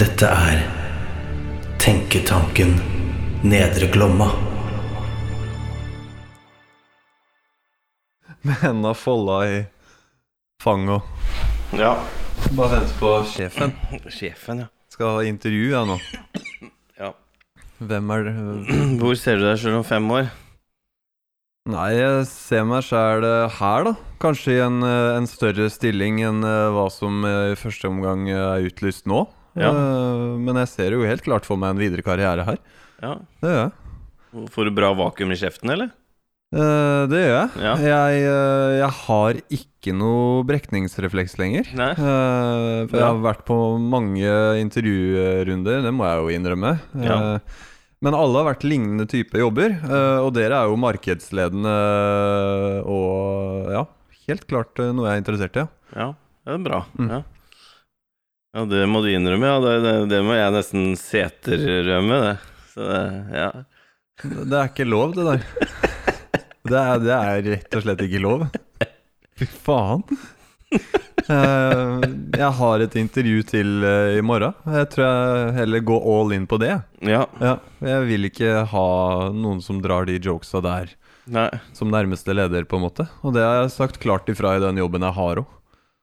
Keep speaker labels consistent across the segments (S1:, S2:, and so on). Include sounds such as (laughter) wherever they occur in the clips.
S1: Dette er Tenketanken Nedre Glomma.
S2: med henda folda i fanget.
S3: Ja.
S2: Bare vent på sjefen.
S3: Sjefen, ja.
S2: Skal ha intervju jeg nå.
S3: Ja. (clears throat)
S2: Hvem er det?
S3: Hvor ser du deg selv om fem år?
S2: Nei, jeg ser meg sjæl her, da. Kanskje i en, eh, en større stilling enn eh, hva som eh, i første omgang eh, er utlyst nå.
S3: Ja.
S2: Eh, Men jeg ser jo helt klart for meg en videre karriere her.
S3: Ja.
S2: Det gjør jeg.
S3: Får du bra vakuum i kjeften, eller?
S2: Eh, Det gjør jeg.
S3: Ja.
S2: Jeg, eh, jeg har ikke noe brekningsrefleks lenger.
S3: Nei?
S2: Eh, for jeg
S3: Ja.
S2: har vært på mange intervjurunder, det må jeg jo innrømme. Eh,
S3: Ja.
S2: Men alle har vært lignende type jobber, eh, og dere er jo markedsledende og ja, helt klart eh, noe jeg er interessert i. ja.
S3: Ja, det er bra.
S2: Mm.
S3: Ja. ja, det må du innrømme. Ja, det, det, det må jeg nesten seterrømme, det. Så det, ja.
S2: Det er ikke lov, det der. Det er, det er rett og slett ikke lov. Fy faen. Eh, jeg har et intervju til eh, i morgen. Jeg tror jeg heller går all in på det. jeg.
S3: ja.
S2: Ja, jeg vil ikke ha noen som drar de jokesa der
S3: Nei.
S2: som nærmeste leder, på en måte. Og det har jeg sagt klart ifra i den jobben jeg har òg.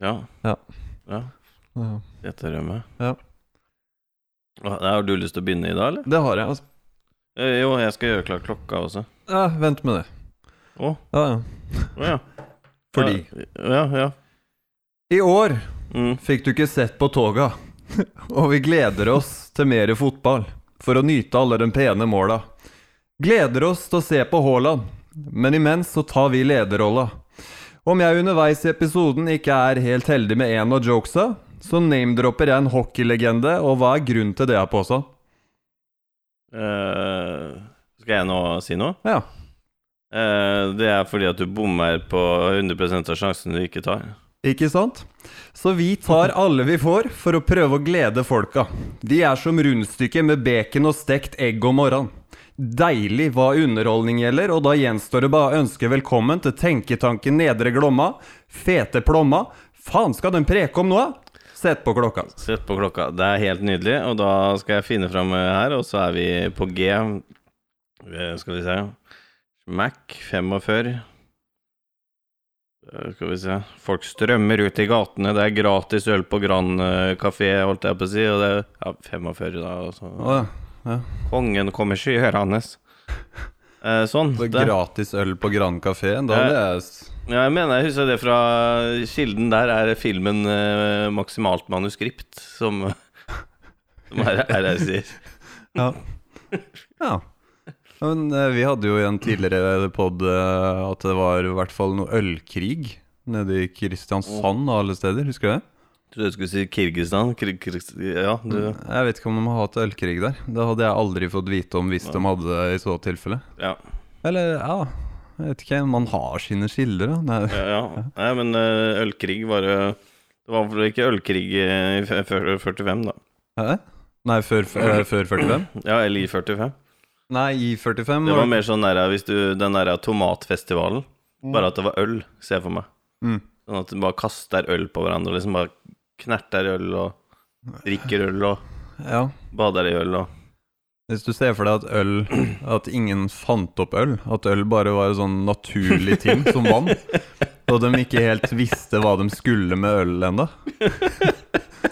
S3: Ja.
S2: Ja.
S3: ja. Seterrømme.
S2: Ja.
S3: Hva- Har du lyst til å begynne i dag, eller?
S2: Det har jeg, altså.
S3: Eh, Jo, jeg skal gjøre klar klokka også.
S2: Ja, vent med det.
S3: Å,
S2: Ja, ja.
S3: å ja.
S2: Fordi
S3: Ja, ja.
S2: I år
S3: Mm.
S2: fikk du ikke sett på toga, (laughs) og vi gleder oss til mer fotball for å nyte alle de pene måla. Gleder oss til å se på Haaland, men imens så tar vi lederrolla. Om jeg underveis i episoden ikke er helt heldig med en av jokesa, så name-dropper jeg en hockeylegende, og hva er grunnen til det, Påsan?
S3: Eh, skal jeg nå si noe?
S2: Ja.
S3: Eh, det er fordi at du bommer på 100 av sjansen du ikke tar.
S2: Ikke sant? Så vi tar alle vi får for å prøve å glede folka. De er som rundstykker med bacon og stekt egg om morgenen. Deilig hva underholdning gjelder, og da gjenstår det bare å ønske velkommen til Tenketanken Nedre Glomma, Fete Plomma. Faen, skal den preke om noe? Sett på klokka.
S3: Sett på klokka. Det er helt nydelig, og da skal jeg finne fram eh, her, og så er vi på G. Eh, Skal vi se Mac 45. Eh, Skal vi se Folk strømmer ut i gatene. Det er gratis øl på Grand eh, Café, holdt jeg på å si. Og det er ja, 45, da. Og så.
S2: Å,
S3: Kongen kommer skjørende. Eh, sånn.
S2: det
S3: Der.
S2: er gratis øl på Grand Café. Da hadde jeg s-
S3: Ja, jeg mener, jeg husker det fra kilden der, er filmen eh, maksimalt manuskript, som, (laughs) som RR sier.
S2: Ja. ja. Men eh, vi hadde jo i en tidligere pod eh, at det var i hvert fall noe ølkrig nede i Kristiansand av alle steder, husker du det?
S3: Trodde jeg skulle si Kirgistan. Kir Kirgis- ja, du
S2: Jeg vet ikke om de har hatt ølkrig der. Det hadde jeg aldri fått vite om hvis de hadde det i så tilfelle.
S3: Ja.
S2: Eller ja, jeg vet ikke. Man har sine kilder, da. Nei.
S3: ja, ja. Nei, men eh, ølkrig var det Det var vel ikke ølkrig eh, i f- f- 45, da.
S2: Hæ? Nei, før, f- eh, før 45?
S3: Ja, eller i 45.
S2: Nei, i 45.
S3: Det
S2: var-
S3: var mer sånn der, hvis du, den der tomatfestivalen, bare at det var øl, ser jeg for meg.
S2: Mm.
S3: Sånn at du bare kaster øl på hverandre, liksom bare knerter øl og drikker øl og
S2: Ja.
S3: bader i øl og
S2: Hvis du ser for deg at øl At ingen fant opp øl, at øl bare var en sånn naturlig ting som vann, og de ikke helt visste hva de skulle med øl ennå,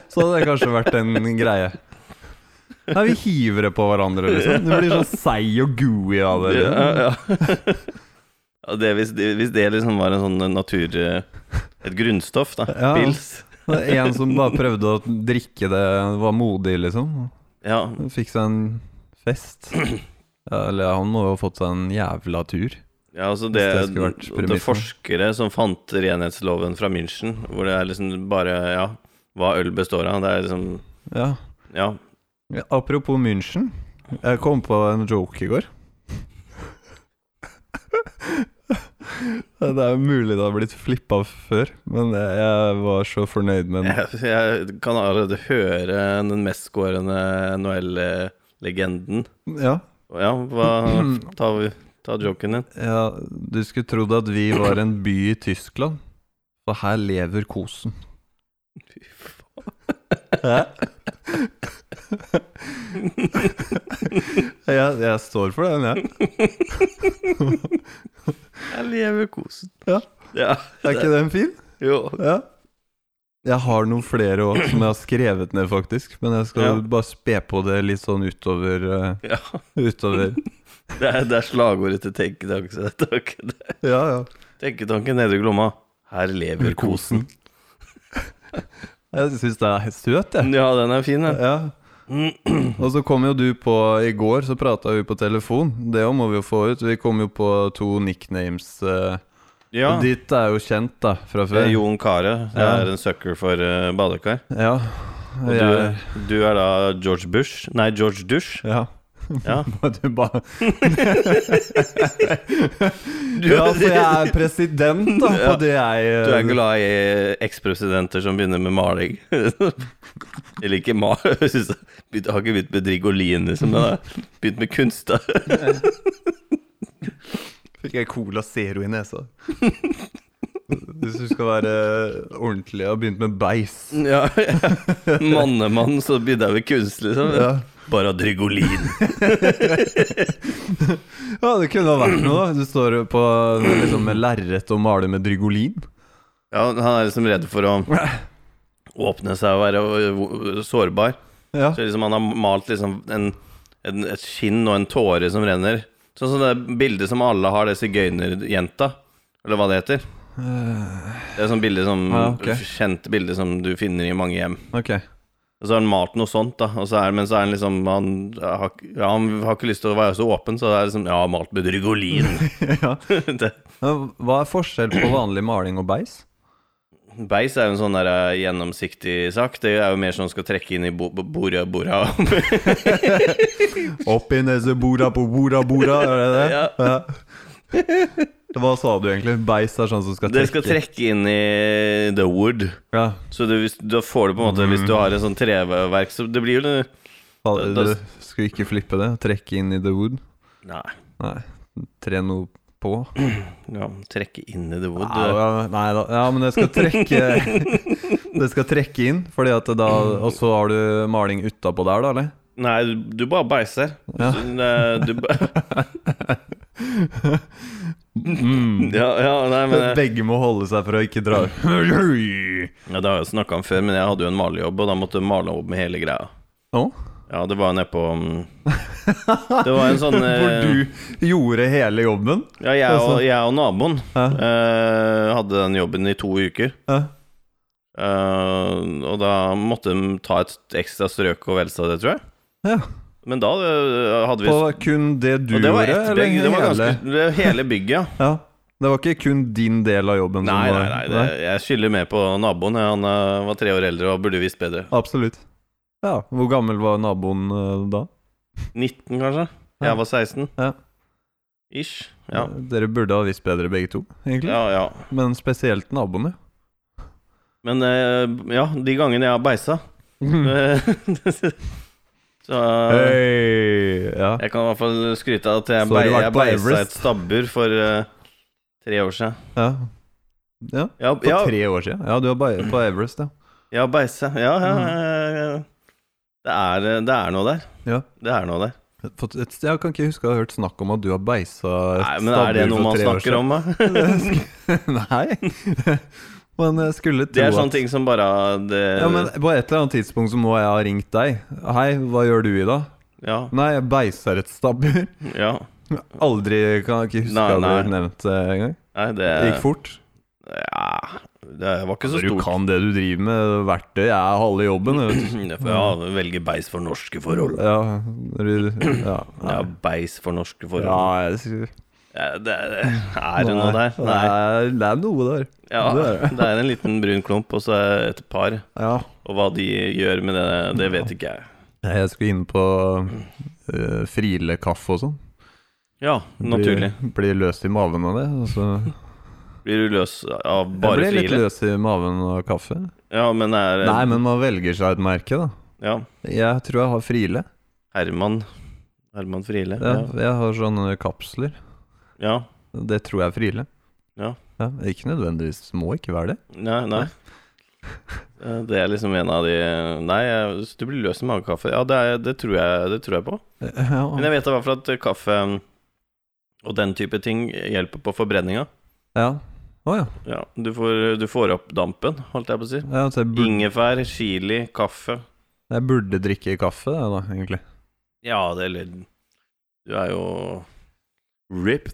S2: så hadde det kanskje vært en greie. Nei, vi hiver det på hverandre, liksom. Det blir sånn seig og gooey av det.
S3: Ja,
S2: Liksom.
S3: ja. (laughs) Ja, det, hvis, det, hvis det liksom var en sånn natur... Et grunnstoff, da.
S2: Ja.
S3: Pils.
S2: Det er En som bare prøvde å drikke det, var modig, liksom.
S3: Ja,
S2: Fikk seg en fest. Ja, Eller han må jo ha fått seg en jævla tur.
S3: ja altså det,
S2: Hvis det skulle vært
S3: det,
S2: premissen.
S3: er forskere som fant renhetsloven fra München, hvor det er liksom bare Ja, hva øl består av. Det er liksom
S2: Ja.
S3: Ja.
S2: Ja, Apropos München. Jeg kom på en joke i går. Det er jo mulig det har blitt flippa før, men jeg var så fornøyd med den.
S3: (laughs) Jeg, jeg kan allerede høre den mestskårende NHL-legenden.
S2: Ja,
S3: Ja, hva
S2: (clears throat)
S3: Ta, ta
S2: (laughs)
S3: joken din.
S2: ja, du skulle trodd at vi var en by i Tyskland, for her lever kosen.
S3: Fy faen.
S2: Hæ? Jeg, jeg står for den, jeg.
S3: Jeg lever kosen.
S2: Ja.
S3: Ja,
S2: Er ikke den fin?
S3: Jo.
S2: Ja. Jeg har noen flere òg som jeg har skrevet ned, faktisk. Men jeg skal
S3: Ja.
S2: bare spe på det litt sånn utover. eh,
S3: Ja.
S2: utover.
S3: Det er, det er slagordet til tenketanken. så dette var ikke det.
S2: Ja, ja.
S3: Tenketanken nede i Glomma. Her lever kosen.
S2: Jeg syns det er søt, jeg.
S3: Ja, den er fin, den.
S2: Ja. Og så kom jo du på I går så prata vi på telefon. Det òg må vi jo få ut. Vi kom jo på to nicknames. eh,
S3: Ja.
S2: Og ditt er jo kjent, da, fra
S3: Det
S2: før.
S3: er Jon Kare. Jeg
S2: Ja.
S3: er en sucker for eh, badekar.
S2: Ja.
S3: Og
S2: Jeg er-
S3: du, du er da George Bush Nei, George Dush.
S2: ja. (laughs)
S3: Ja.
S2: Du bare Ja, for jeg er president, da, på det jeg eh,
S3: Du er glad i eh, ekspresidenter som begynner med maling. (laughs) Eller ikke mal... (laughs) Jeg synes, jeg har ikke begynt med Drigolin, liksom. Men jeg har begynt med kunst. da.
S2: Fikk jeg Cola Zero i (laughs) nesa. Hvis du skal være ordentlig og begynt med beis.
S3: Ja, ja. (laughs) Mannemann, så begynner jeg med kunst, liksom.
S2: Ja.
S3: Bare Drigolin.
S2: Ja, det kunne ha vært noe. da. Du står jo på liksom, med lerret og maler med drygolin.
S3: Ja, han er liksom redd for å åpne seg og være øh, sårbar.
S2: Ja.
S3: Så liksom han har malt liksom en, en, et skinn og en tåre som renner. Sånn som det bildet som alle har, det sigøynerjenta, eller hva det heter. Det er sånn bilde som
S2: Ja, Ah, ok.
S3: Kjent bilde som du finner i mange hjem.
S2: Ok.
S3: Og så har han malt noe sånt, da. Og så er, men så er han liksom han har, ikke- ja, han har ikke lyst til å være så åpen, så det er liksom Ja, malt med drygolin.
S2: (laughs) Ja.
S3: (laughs) det,
S2: Men Hva er forskjell på vanlig maling og beis?
S3: beis er jo en sånn der eh, gjennomsiktig sak. Det er jo mer sånn skal trekke inn i bo, bo, bordet,
S2: (laughs)
S3: bordet.
S2: Oppi nesebora på bora bora, er det det?
S3: Ja.
S2: Hva sa du egentlig? Beis er sånn som skal
S3: Det
S2: trekke?
S3: skal trekke inn i the wood.
S2: Ja.
S3: Så du, hvis, da får du på en måte Hvis du har en sånn treverk, så det blir jo det-
S2: Fa-
S3: Da- da-
S2: Du skulle ikke flippe det? Trekke inn i the wood?
S3: Nei.
S2: Nei. Tre noe på?
S3: Ja, trekke inn i the wood.
S2: Ja, ja, Nei da. Ja, men det skal trekke
S3: (laughs)
S2: Det skal trekke inn, fordi at da
S3: Mm.
S2: Og så har du maling utapå der, da, eller?
S3: Nei, du, du bare beiser.
S2: Ja.
S3: Så, nei, Du, ba-
S2: Mm.
S3: (laughs) ja, ja, nei, men eh, jeg-
S2: Begge må holde seg for å ikke dra Å?
S3: ja, Det har jeg snakka om før, men jeg hadde jo en malejobb, og da måtte jeg male opp med hele greia. Ja, det var jo nedpå um,
S2: (laughs)
S3: Det var en sånn
S2: Hvor
S3: eh,
S2: du gjorde hele jobben?
S3: Ja, jeg
S2: Altså.
S3: og, jeg og naboen
S2: Ja.
S3: eh, hadde den jobben i to uker.
S2: Ja.
S3: Eh, og da måtte de ta et ekstra strøk og velsa det, tror jeg.
S2: ja.
S3: Men da eh, hadde vi
S2: På kun det du
S3: Og det var
S2: gjorde?
S3: ett bygg. Det var
S2: hele?
S3: ganske, det, hele bygget,
S2: (laughs)
S3: ja.
S2: Ja. Det var ikke kun din del av jobben?
S3: Nei,
S2: som
S3: nei,
S2: var,
S3: nei. Det, jeg skylder mer på naboen. ja. Han eh, var tre år eldre og burde visst bedre.
S2: Absolutt. Ja. Hvor gammel var naboen eh, da?
S3: 19, kanskje?
S2: Ja.
S3: Jeg var 16.
S2: Ja.
S3: Ish. Ja.
S2: Dere burde ha visst bedre, begge to, egentlig.
S3: ja, ja.
S2: Men spesielt naboene.
S3: Men eh, ja, de gangene jeg har (laughs) beisa eh,
S2: Mm.
S3: Så eh,
S2: (laughs) Hei! Ja.
S3: jeg kan i hvert fall skryte av at jeg,
S2: Så har
S3: bei,
S2: du vært
S3: jeg
S2: på
S3: beisa
S2: Everest?
S3: et stabbur for eh, tre år siden.
S2: ja. ja.
S3: Ja,
S2: For
S3: ja,
S2: tre år siden. Ja, du var bare på Everest, ja.
S3: Ja, beise. Ja, ja,
S2: Mm.
S3: ja, ja. Det, er, eh, det er noe der.
S2: Ja.
S3: Det er noe der.
S2: Fått et- Jeg kan ikke huske å ha hørt snakk om at du har beisa et
S3: Nei, men er det
S2: stabbur
S3: noe
S2: for
S3: man
S2: tre år
S3: snakker
S2: (laughs)
S3: om, da?
S2: siden? (laughs) Nei. Men jeg skulle tro
S3: Det er sånne
S2: at-
S3: ting eh, som bare det,
S2: Ja, men På et eller annet tidspunkt så må jeg ha ringt deg. 'Hei, hva gjør du i dag?'
S3: ja,
S2: 'Nei, jeg beiser et stabbur'. (laughs)
S3: ja.
S2: Aldri kan jeg ikke huske
S3: Nei,
S2: at det har
S3: nei.
S2: vært nevnt det engang.
S3: Nei, det
S2: Det gikk fort.
S3: Ja, det var ikke så
S2: Du
S3: (clears throat) stort.
S2: kan det du driver med. Verktøy er halve jobben. vet
S3: (clears throat)
S2: du.
S3: Ja, for Ja, velge beis for norske forhold.
S2: Ja, du, ja,
S3: Ja,
S2: nei.
S3: beis for norske
S2: ja
S3: forhold.
S2: jeg skulle-
S3: Ja, det, er det noe der?
S2: Nei,
S3: Nei.
S2: Det er, det er noe der.
S3: Ja,
S2: Det er det.
S3: det er en liten brun klump, og så er det et par.
S2: Ja.
S3: Og hva de gjør med det, det vet ikke jeg.
S2: Jeg skulle inn på uh, frilekaffe og sånn.
S3: Ja, naturlig.
S2: Blir, blir løs i maven av det. og så-
S3: Blir du løs av
S2: jeg
S3: bare
S2: ble litt
S3: frile?
S2: løs i maven av kaffe.
S3: Ja, men er
S2: Nei, men man velger seg et merke, da.
S3: Ja.
S2: Jeg tror jeg har frile.
S3: Herman Herman Friele.
S2: Jeg,
S3: Ja.
S2: jeg har sånne kapsler.
S3: ja.
S2: Det tror jeg er frile.
S3: Ja.
S2: Ikke nødvendigvis. Må ikke være det.
S3: Nei, nei. Eh, Det er liksom en av de Nei, jeg- hvis du blir løs i magekaffe Ja, det, er, det, tror jeg, det tror jeg på. Men
S2: (laughs) Ja.
S3: jeg vet i hvert fall at kaffe um, og den type ting hjelper på forbrenninga.
S2: ja. Å ja.
S3: Ja, du får, du får opp dampen, holdt jeg på å si.
S2: ja så jeg, burde,
S3: Ingefær, chili, kaffe.
S2: jeg burde drikke kaffe, jeg, da, egentlig.
S3: Ja, det eller Du er jo ripped.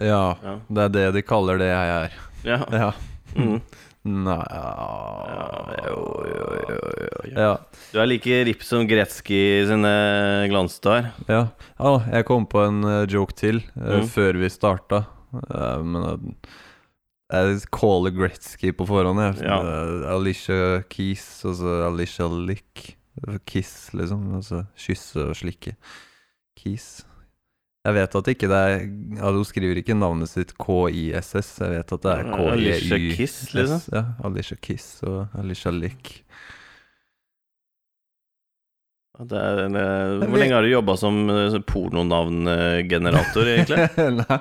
S2: Ja.
S3: Ja.
S2: Det er det de kaller det jeg er.
S3: ja.
S2: Ja.
S3: Mm.
S2: Nei
S3: Ja, jo, jo, jo, jo, jo.
S2: Ja.
S3: Du er like ripp som Gretzky i sine glansdager.
S2: Ja. ja, jeg kom på en eh, joke til eh,
S3: Mm.
S2: før vi starta. Eh, men eh, jeg caller Gretzky på forhånd. Jeg.
S3: Ja.
S2: Eh, Alicia Keys, og så Alicia Lick. Kiss, liksom. Altså kysse og slikke. Keys. Jeg vet at ikke det er ja, Hun skriver ikke navnet sitt KISS. Jeg vet at det er E KIY.
S3: Alicia Kiss, liksom.
S2: Ja, Alicia Kiss og Alicia Lick.
S3: Det er, en, eh,
S2: Jeg
S3: hvor
S2: vet-
S3: lenge har du jobba som eh, pornonavngenerator,
S2: (laughs)
S3: egentlig?
S2: Nei,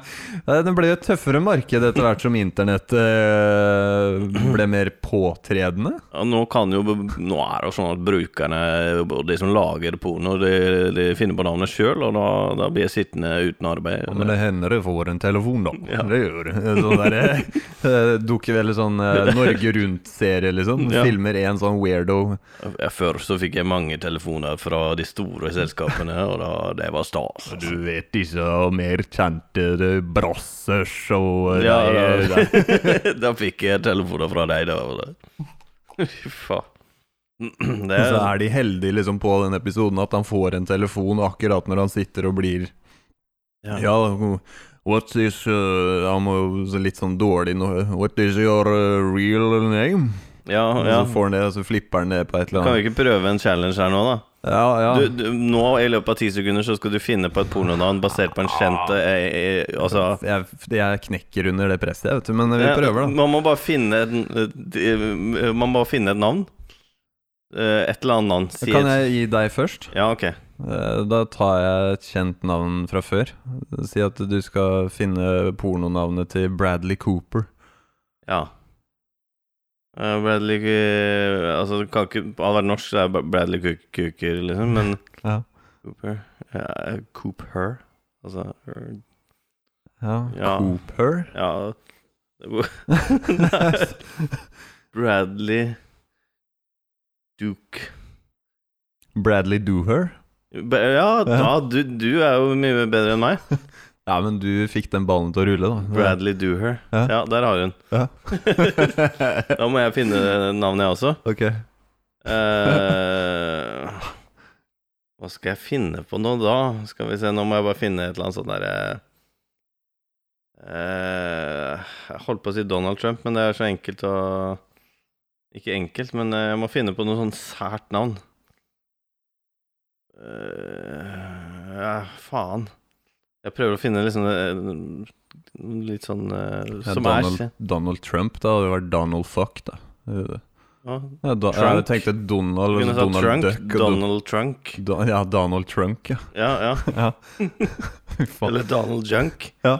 S2: Nei, det ble jo et tøffere marked etter hvert som internett eh, ble mer påtredende.
S3: Ja, nå, kan jo, nå er det jo sånn at brukerne, og de som lager porno, de, de finner på navnet sjøl, og da, da blir jeg sittende uten arbeid.
S2: Ja, men det hender det får en telefon, da.
S3: Ja.
S2: Det gjør det. Sånn der, eh, dukker vel sånn eh, Norge Rundt-serie, liksom.
S3: Ja.
S2: Filmer en sånn weirdo.
S3: Jeg- Før så fikk jeg mange telefoner fra de store selskapene, og da, det var stas.
S2: Du vet disse mer kjente eh, det, Brassers og
S3: Ja,
S2: de-
S3: da, da fikk jeg telefoner fra deg, da. var det. Fy faen. Det
S2: Og
S3: er,
S2: så er de heldige liksom, på den episoden at han får en telefon akkurat når han sitter og blir
S3: Ja.
S2: Ja, what's this uh, Han må jo så litt sånn dårlig nå What is your uh, real name?
S3: ja,
S2: Og
S3: Ah, ja.
S2: Så får han det, og så flipper han det på et eller
S3: Kan
S2: annet.
S3: vi ikke prøve en challenge her nå, da?
S2: Ja, ja.
S3: Du, du, nå I løpet av ti sekunder så skal du finne på et pornonavn basert på en kjent eh, eh, Altså
S2: jeg, jeg knekker under det presset, jeg, vet du, men vi
S3: Ja,
S2: prøver, da.
S3: Man må bare finne et, de- Man må bare finne et navn. Eh, Et eller annet navn. Si
S2: Kan
S3: et-
S2: jeg gi deg først?
S3: Ja, ok.
S2: Eh, Da tar jeg et kjent navn fra før. Si at du skal finne pornonavnet til Bradley Cooper.
S3: Ja. Eh, Bradley eh, Altså, det kan ikke Hadde vært norsk, så er det bare Bradley Cook- Cooker, liksom, men
S2: (laughs) Ja.
S3: Cooper ja, eh, Cooper Altså er-
S2: Ja.
S3: Ja.
S2: Cooper? (laughs)
S3: Ja Nei. Bradley Duke
S2: Bradley Doher.
S3: Ba- Ja, da, du, du er jo mye bedre enn meg.
S2: Ja, men du fikk den ballen til å rulle, da.
S3: Bradley Doher.
S2: Ja.
S3: Ja, der har hun.
S2: Ja.
S3: (laughs) da må jeg finne navnet, jeg også.
S2: Ok.
S3: Eh, hva skal jeg finne på nå, da? Skal vi se, nå må jeg bare finne et eller annet sånt eh, derre eh, Jeg holdt på å si Donald Trump, men det er så enkelt å Ikke enkelt, men eh, jeg må finne på noe sånn sært navn. Eh, ja, faen. Jeg prøver å finne liksom eh, litt sånn eh,
S2: Ja,
S3: Som
S2: Donald,
S3: er
S2: Donald Trump, da. Det hadde vært Donald Fuck, da. Ja,
S3: ja,
S2: da jeg
S3: Trunk.
S2: tenkte Donald,
S3: Du kunne
S2: altså
S3: sagt
S2: Donald
S3: Trunk.
S2: Duck. og Don- Don-
S3: Donald Trunk.
S2: ja, Donald Trunk, ja. (laughs)
S3: Ja, ja.
S2: ja. Fy faen.
S3: Eller Donald Junk.
S2: ja.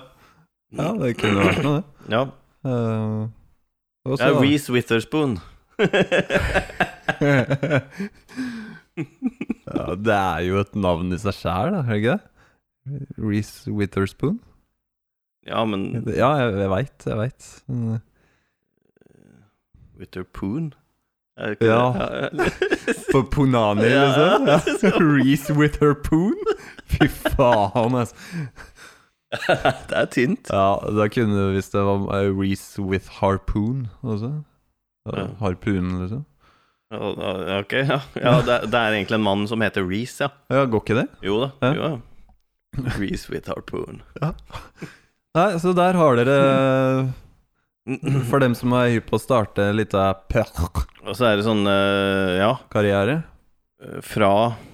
S2: ja, det kunne vært noe, det.
S3: Ja.
S2: Eh, og så-
S3: ja Reece Witherspoon.
S2: (laughs)
S3: (laughs)
S2: ja, det er jo et navn i seg sjæl, da, er det ikke det? Reece Witherspoon?
S3: ja, men
S2: Ja, jeg, jeg veit, jeg veit.
S3: Witherspoon? Er det
S2: Ja.
S3: det?
S2: På Punani,
S3: Ja, (laughs)
S2: liksom?
S3: ja.
S2: Ja. Reece with her poon? Fy faen, altså. (laughs)
S3: det er tynt.
S2: Ja, da kunne du hvis det var eh, Reece with harpoon også. Ja,
S3: Ja.
S2: Harpunen, liksom.
S3: Ja, ja, Ok, ja. ja det, er, det er egentlig en mann som heter Reece, ja.
S2: Ja, går ikke det?
S3: Jo da.
S2: Ja.
S3: Jo, ja. Reece with harpoon.
S2: Nei, så der har (clears throat) dere (clears throat) For dem som er hypp på å starte en liten perr-karriere.
S3: Og så er det sånn, eh, ja Fra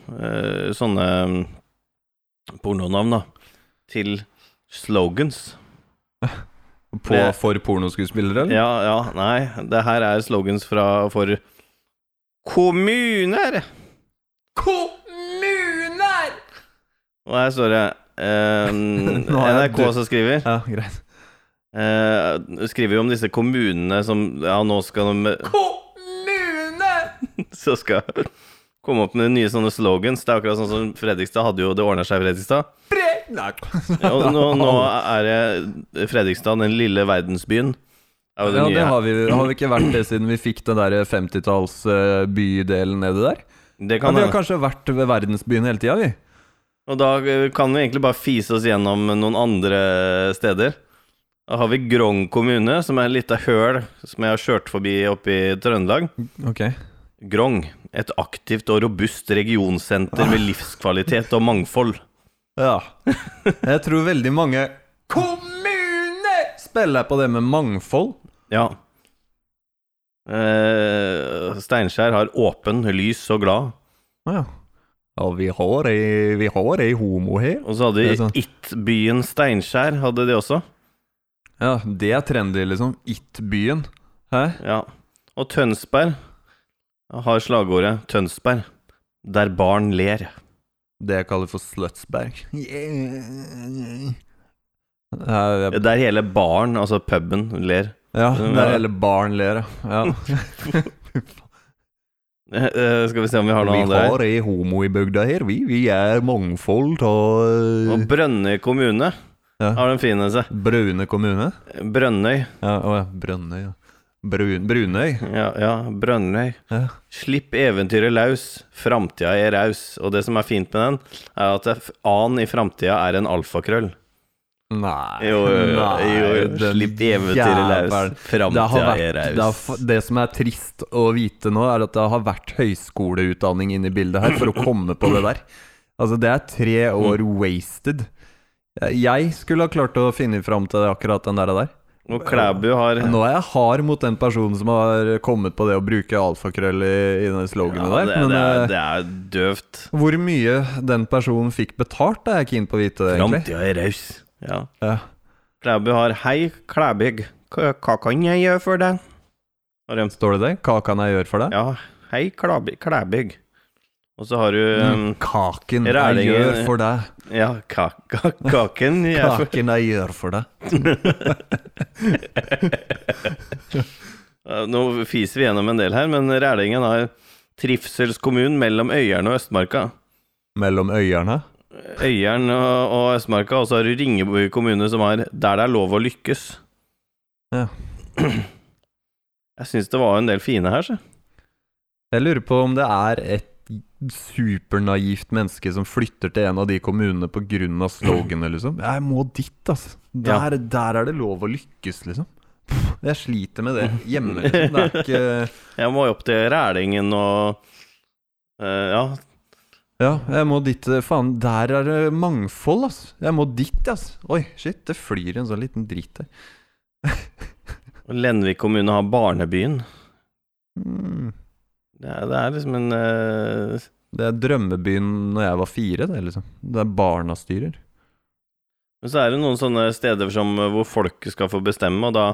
S3: eh, sånne eh, pornonavn, da, til slogans.
S2: På,
S3: Det-
S2: for pornoskuespillere, eller?
S3: Ja, ja, nei. Det her er slogans fra, for kommuner.
S2: Kommuner!
S3: Og her står det
S2: (laughs)
S3: eh,
S2: Nå er
S3: NRK
S2: du-
S3: som skriver
S2: Ja, greit.
S3: eh, Skriver jo om disse kommunene som Ja, nå skal de
S2: Kommune!
S3: (laughs) så skal jeg komme opp med nye sånne slogans. Det er akkurat sånn som Fredrikstad hadde jo Det ordna seg i Fredrikstad.
S2: Nei.
S3: Og nå,
S2: (laughs)
S3: nå er det Fredrikstad, den lille verdensbyen. Er jo det
S2: Ja, det
S3: nye.
S2: har vi, har vi ikke vært det siden vi fikk den der 50-tallsbydelen nedi der?
S3: det
S2: Ja,
S3: kan
S2: vi har
S3: hende.
S2: kanskje vært ved verdensbyen hele tida, vi.
S3: Og da eh, kan vi egentlig bare fise oss gjennom noen andre steder. Da har vi Grong kommune, som er et lite høl som jeg har kjørt forbi oppe i Trøndelag.
S2: Ok.
S3: Grong, et aktivt og robust regionsenter med livskvalitet og mangfold.
S2: Ja. Jeg tror veldig mange kommuner spiller på det med mangfold.
S3: Ja. Eh, Steinkjer har åpen, lys og glad.
S2: Å ja. Ja, vi har ei, vi har ei homo her.
S3: Og så
S2: Det er
S3: hadde
S2: sant.
S3: de It-byen Steinkjer, hadde de også.
S2: Ja, det er trendy, liksom. It-byen. Hæ?
S3: Ja. Og Tønsberg har slagordet 'Tønsberg, der barn ler'.
S2: Det jeg kaller for Slutsberg. Ja, det-
S3: Der hele baren, altså puben, ler. (laughs)
S2: ja, der hele barn ler, ja. ja. (laughs)
S3: Eh, eh, skal vi se om vi har noe
S2: vi
S3: andre her.
S2: har ei homo i bygda her, vi. Vi er mangfold av
S3: Og Brønnøy kommune
S2: Ja.
S3: har den fin en seg.
S2: Braune kommune.
S3: Brønnøy.
S2: Ja, å ja. Brønnøy, ja. Brun, Brunøy.
S3: Ja, ja Brønnøy.
S2: Ja.
S3: Slipp eventyret løs, framtida er raus. Og det som er fint med den, er at f- A-en i framtida er en alfakrøll.
S2: Nei
S3: Jo, jo, jo, jo, jo.
S2: den
S3: Slipp eventyret
S2: jævelen.
S3: løs,
S2: Det, har
S3: framtida
S2: vært,
S3: er
S2: det, har,
S3: raus.
S2: f- det som er trist å vite nå, er at det har vært høyskoleutdanning inne i bildet her for å komme på det der. Altså, det er tre år wasted. Jeg skulle ha klart å finne fram til akkurat den der. der.
S3: Og Klæbu har
S2: Nå er jeg hard mot den personen som har kommet på det å bruke alfakrøll i, i den sloganet
S3: Ja,
S2: der.
S3: det, det,
S2: men
S3: er,
S2: eh,
S3: det er døvt.
S2: hvor mye den personen fikk betalt, er jeg keen på å vite, egentlig.
S3: Framtida er raus. Ja.
S2: Ja.
S3: Klæbu har Hei, Klæbygg, hva hva kan jeg gjøre for deg? Har de.
S2: Står det det? Hva kan jeg gjøre for deg?
S3: Ja, hei, Klæby- Klæbygg. Og så har du
S2: Mm.
S3: um,
S2: Kaken jeg
S3: Rælingen-
S2: gjør for
S3: (laughs)
S2: deg.
S3: Ja, ka ka kaken
S2: (laughs)
S3: jeg er for-
S2: Kaken jeg gjør for deg.
S3: (laughs) Ja, Nå fiser vi gjennom en del her, men Rælingen har trivselskommunen mellom Øyeren og Østmarka.
S2: Mellom øyerne.
S3: Øyeren og, og Østmarka, og så har du Ringebu kommune, som har 'Der det er lov å lykkes'.
S2: Ja.
S3: (clears throat) Jeg syns det var en del fine her, så.
S2: Jeg lurer på om det er et supernaivt menneske som flytter til en av de kommunene pga. sloganet, liksom. Jeg må dit, altså.
S3: Ja.
S2: Der, der er det lov å lykkes, liksom. Pff, Jeg sliter med det hjemme. Liksom. Det er ikke
S3: (laughs) Jeg må jo opp til Rælingen og eh, Ja,
S2: Ja, jeg må dit. eh, Faen, der er det mangfold, altså. Jeg må dit, altså. Oi, shit, det flyr en sånn liten drit der.
S3: og Lenvik kommune har Barnebyen.
S2: Mm.
S3: Det er, det er liksom en eh,
S2: Det er drømmebyen når jeg var fire, det, liksom. Det er barna styrer.
S3: Men så er det noen sånne steder som, eh, hvor folket skal få bestemme, og da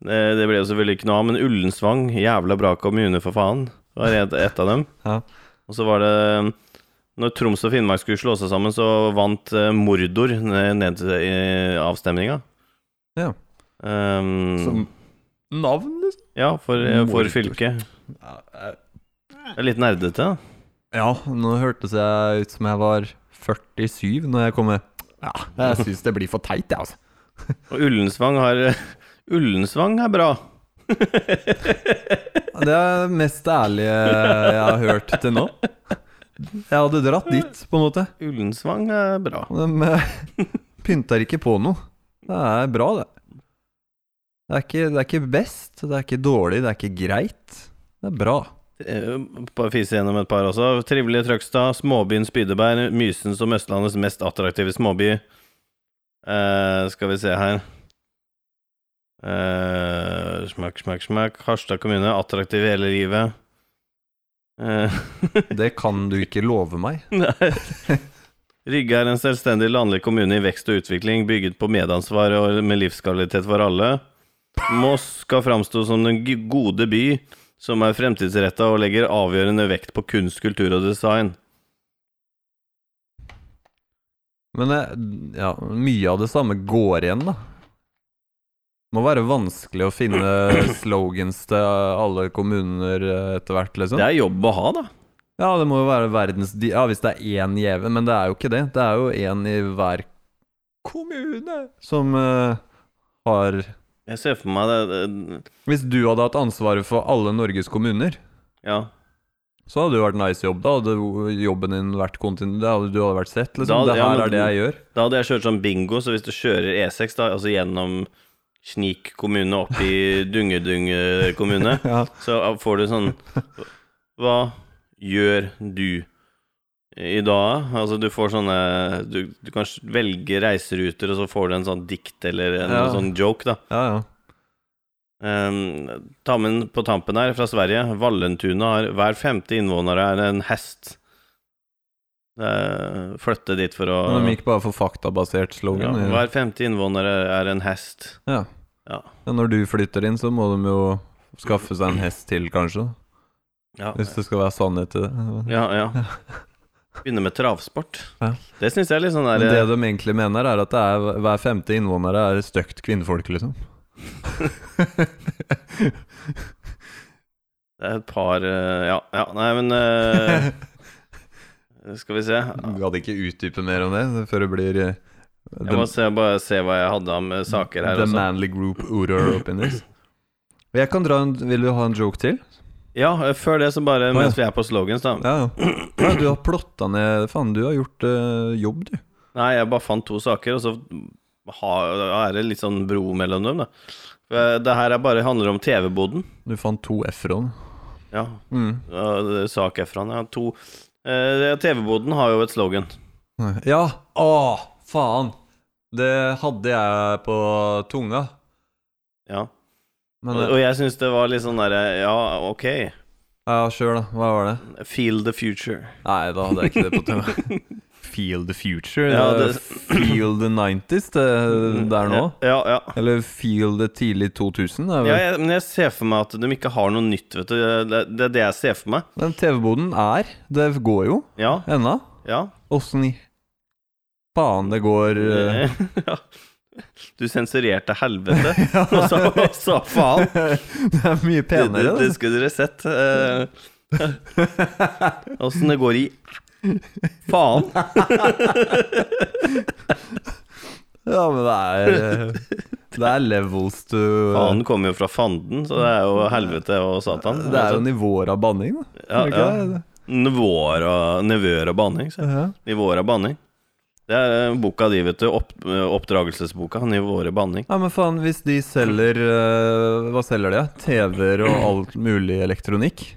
S3: eh, Det ble jo selvfølgelig ikke noe av, men Ullensvang, jævla bra kommune, for faen, var et, et av dem.
S2: Ja.
S3: Og så var det eh, Når Troms og Finnmark skulle slå seg sammen, så vant eh, Mordor ned, ned i avstemninga.
S2: Ja.
S3: Ehm,
S2: Som navn, liksom.
S3: ja, for, eh, for
S2: Mordor.
S3: fylket.
S2: Ja, eh,
S3: Det er litt nerdete. da.
S2: ja, nå hørtes jeg ut som jeg var 47 når jeg kom med. Ja, jeg syns det blir for teit, jeg, altså.
S3: Og Ullensvang har (laughs) Ullensvang er bra.
S2: Det er det mest ærlige jeg har hørt til nå. Jeg hadde dratt dit, på en måte.
S3: Ullensvang er bra.
S2: De eh, pynter ikke på noe. Det er bra, det. Det er, ikke, det er ikke best, det er ikke dårlig, det er ikke greit. Det er bra.
S3: Eh, Bare fise gjennom et par også. Trivelige Trøgstad, småbyen Spydeberg, Mysen som Østlandets mest attraktive småby. Eh, skal vi se her eh, Smakk, smakk, smakk. Harstad kommune, attraktiv i hele livet. Eh, (laughs)
S2: Det kan du ikke love meg.
S3: nei. Rygge er en selvstendig landlig kommune i vekst og utvikling, bygget på medansvar og med livskvalitet for alle. Moss skal framstå som den g- gode by, som er fremtidsretta og legger avgjørende vekt på kunst, kultur og design.
S2: Men eh, ja, mye av det samme går igjen, da. Må være vanskelig å
S3: (clears throat)
S2: finne slogans til alle kommuner eh, etter hvert, liksom.
S3: Det er jobb å ha, da.
S2: Ja, det må jo være verdens di- Ja, hvis det er én gjeven, men det er jo ikke det. Det er jo én i hver kommune som eh, har
S3: Jeg ser for meg det, det
S2: Hvis du hadde hatt ansvaret for alle Norges kommuner,
S3: Ja.
S2: så hadde det jo vært nice jobb. Da hadde jo jobben din vært kontinuerlig. Da hadde du hadde vært sett, liksom.
S3: Da-
S2: det her
S3: ja, men-
S2: er det jeg gjør.
S3: Da hadde jeg kjørt sånn bingo, så hvis du kjører E6 da, altså gjennom Snik kommune opp i Dungedunge kommune,
S2: Ja.
S3: så får du sånn
S2: (laughs)
S3: Hva gjør du i dag? Altså du får sånne Du, du kan velge reiseruter, og så får du en sånn dikt eller en
S2: Ja.
S3: sånn joke, da.
S2: Ja, ja.
S3: Um, ta med en på tampen her fra Sverige. Vallentuna har hver femte innvåner er en hest. Eh, Flytte dit for å
S2: Men de gikk bare for faktabasert
S3: ja,
S2: slogan. Ja,
S3: Hver femte innvåner er en hest.
S2: ja.
S3: Ja.
S2: Når du flytter inn, så må de jo skaffe seg en hest til, kanskje.
S3: Ja,
S2: Hvis det skal være sannhet i det.
S3: ja. ja. Begynne med travsport.
S2: Ja.
S3: Det syns jeg er litt sånn der
S2: Men det de egentlig mener, er at det er hver femte innvånere er stygt kvinnfolk, liksom.
S3: Det er et par eh, Ja, ja nei, men
S2: (laughs)
S3: (laughs) eh, Skal vi se.
S2: Du hadde ikke utdype mer om det før det blir eh,
S3: Jeg må se, bare se hva jeg hadde av med saker her altså.
S2: The
S3: også.
S2: manly group order opinions. Jeg kan dra en, Vil du ha en joke til?
S3: Ja, eh, før det så bare,
S2: ja.
S3: mens vi er på slogans, da.
S2: Ja, ja. ja du har plotta ned Faen, du har gjort eh, jobb, du.
S3: Nei, jeg bare fant to saker, og så har, er det litt sånn bro mellom dem, da. For jeg- Det her er bare handler om TV-boden.
S2: Du fant to F-rån.
S3: Ja,
S2: Mm.
S3: ja, det er sak herfra. Ja, to eh, TV-boden har jo et slogan.
S2: Ja! Å, faen! Det hadde jeg på tunga.
S3: Ja.
S2: Men
S3: Og
S2: eh,
S3: og jeg syns det var litt sånn derre Ja, ok.
S2: ja, sjøl, da. Hva var det?
S3: Feel the future.
S2: Nei, da hadde jeg ikke det på tunga. (laughs) Feel the future.
S3: Ja,
S2: eh,
S3: det-
S2: Feel the 90s, det der nå.
S3: Mm, Ja, ja.
S2: Eller feel the tidlig 2000. Er vel.
S3: ja jeg, men jeg ser for meg at de ikke har noe nytt, vet du. Det, det er det jeg ser for meg.
S2: Men TV-boden er Det går jo
S3: Ja,
S2: ennå.
S3: ja.
S2: Åssen i faen det går eh.
S3: ja. (laughs) Du sensurerte helvete,
S2: (laughs)
S3: og så, og så faen.
S2: Det er mye
S3: Det, det,
S2: penere.
S3: det
S2: Det,
S3: skulle dere sett. eh. (laughs) Åssen det går i Faen.
S2: Ja, men det er eh, Det er levels to eh,
S3: Faen kommer jo fra fanden, så det er jo helvete og satan. Altså,
S2: Det er jo nivåer av banning, da.
S3: Ja,
S2: Er det
S3: ja.
S2: ikke det?
S3: Nivåer av, nevøer av banning. sier jeg.
S2: Ja.
S3: Nivåer av banning. Det er eh, boka di, vet du. Opp, eh, oppdragelsesboka. Nivåer av banning.
S2: ja, men faen, hvis de selger eh, Hva selger de? TV-er og alt mulig elektronikk?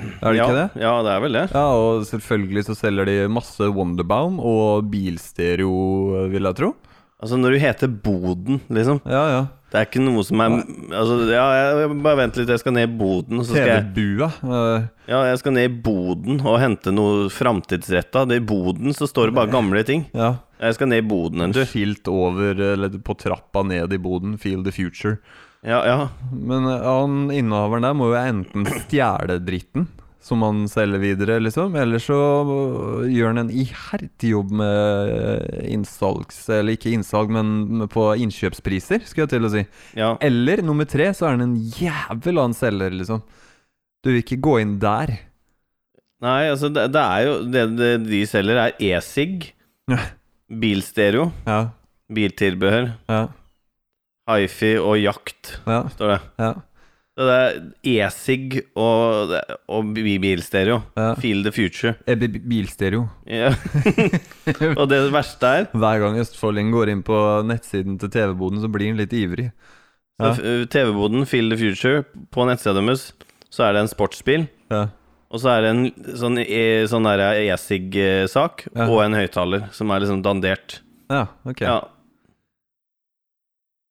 S2: Er det
S3: ja,
S2: ikke det?
S3: Ja, det er vel det.
S2: Ja, og selvfølgelig så selger de masse Wonderbaum og bilstereo, vil jeg tro.
S3: Altså, når du heter Boden, liksom
S2: Ja, ja.
S3: Det er ikke noe som er Altså, ja, jeg, bare vent litt, jeg skal ned i Boden, og så skal jeg
S2: TV-bua. eh,
S3: Ja, jeg skal ned i Boden og hente noe framtidsretta. I Boden så står det bare gamle ting.
S2: Ja.
S3: Jeg skal ned i Boden en tur.
S2: Skilt over, eller på trappa ned i boden, feel the future.
S3: Ja, ja.
S2: Men eh, han innehaveren der må jo enten stjele dritten, som han selger videre, liksom, eller så øh, gjør han en iherdig jobb med eh, innsalgs... Eller ikke innsalg, men med- på innkjøpspriser, skulle jeg til å si.
S3: ja.
S2: Eller nummer tre, så er han en jævel han selger, liksom. Du vil ikke gå inn der.
S3: Nei, altså det, det er jo Det, det de selger er e-sig
S2: Ja.
S3: Bilstereo
S2: Ja,
S3: Biltilbehør
S2: ja,
S3: Hi-fi og jakt
S2: ja.
S3: Står det
S2: ja,
S3: Så det er e-sig og, og bi- bilstereo
S2: ja.
S3: Feel the future
S2: Eh, bi- bi- Bilstereo. (laughs)
S3: ja. Og det verste er
S2: Hver gang østfoldingen går inn på nettsiden til TV-boden, så blir han litt ivrig.
S3: så
S2: Ja.
S3: f- eh, TV-boden Feel the future På nettsida deres Så er det en sportsbil
S2: Ja.
S3: Og så er det en sånn, e, sånn der e-sig-sak
S2: Ja.
S3: Og en høyttaler Som er liksom dandert
S2: ja, ok.
S3: Ja,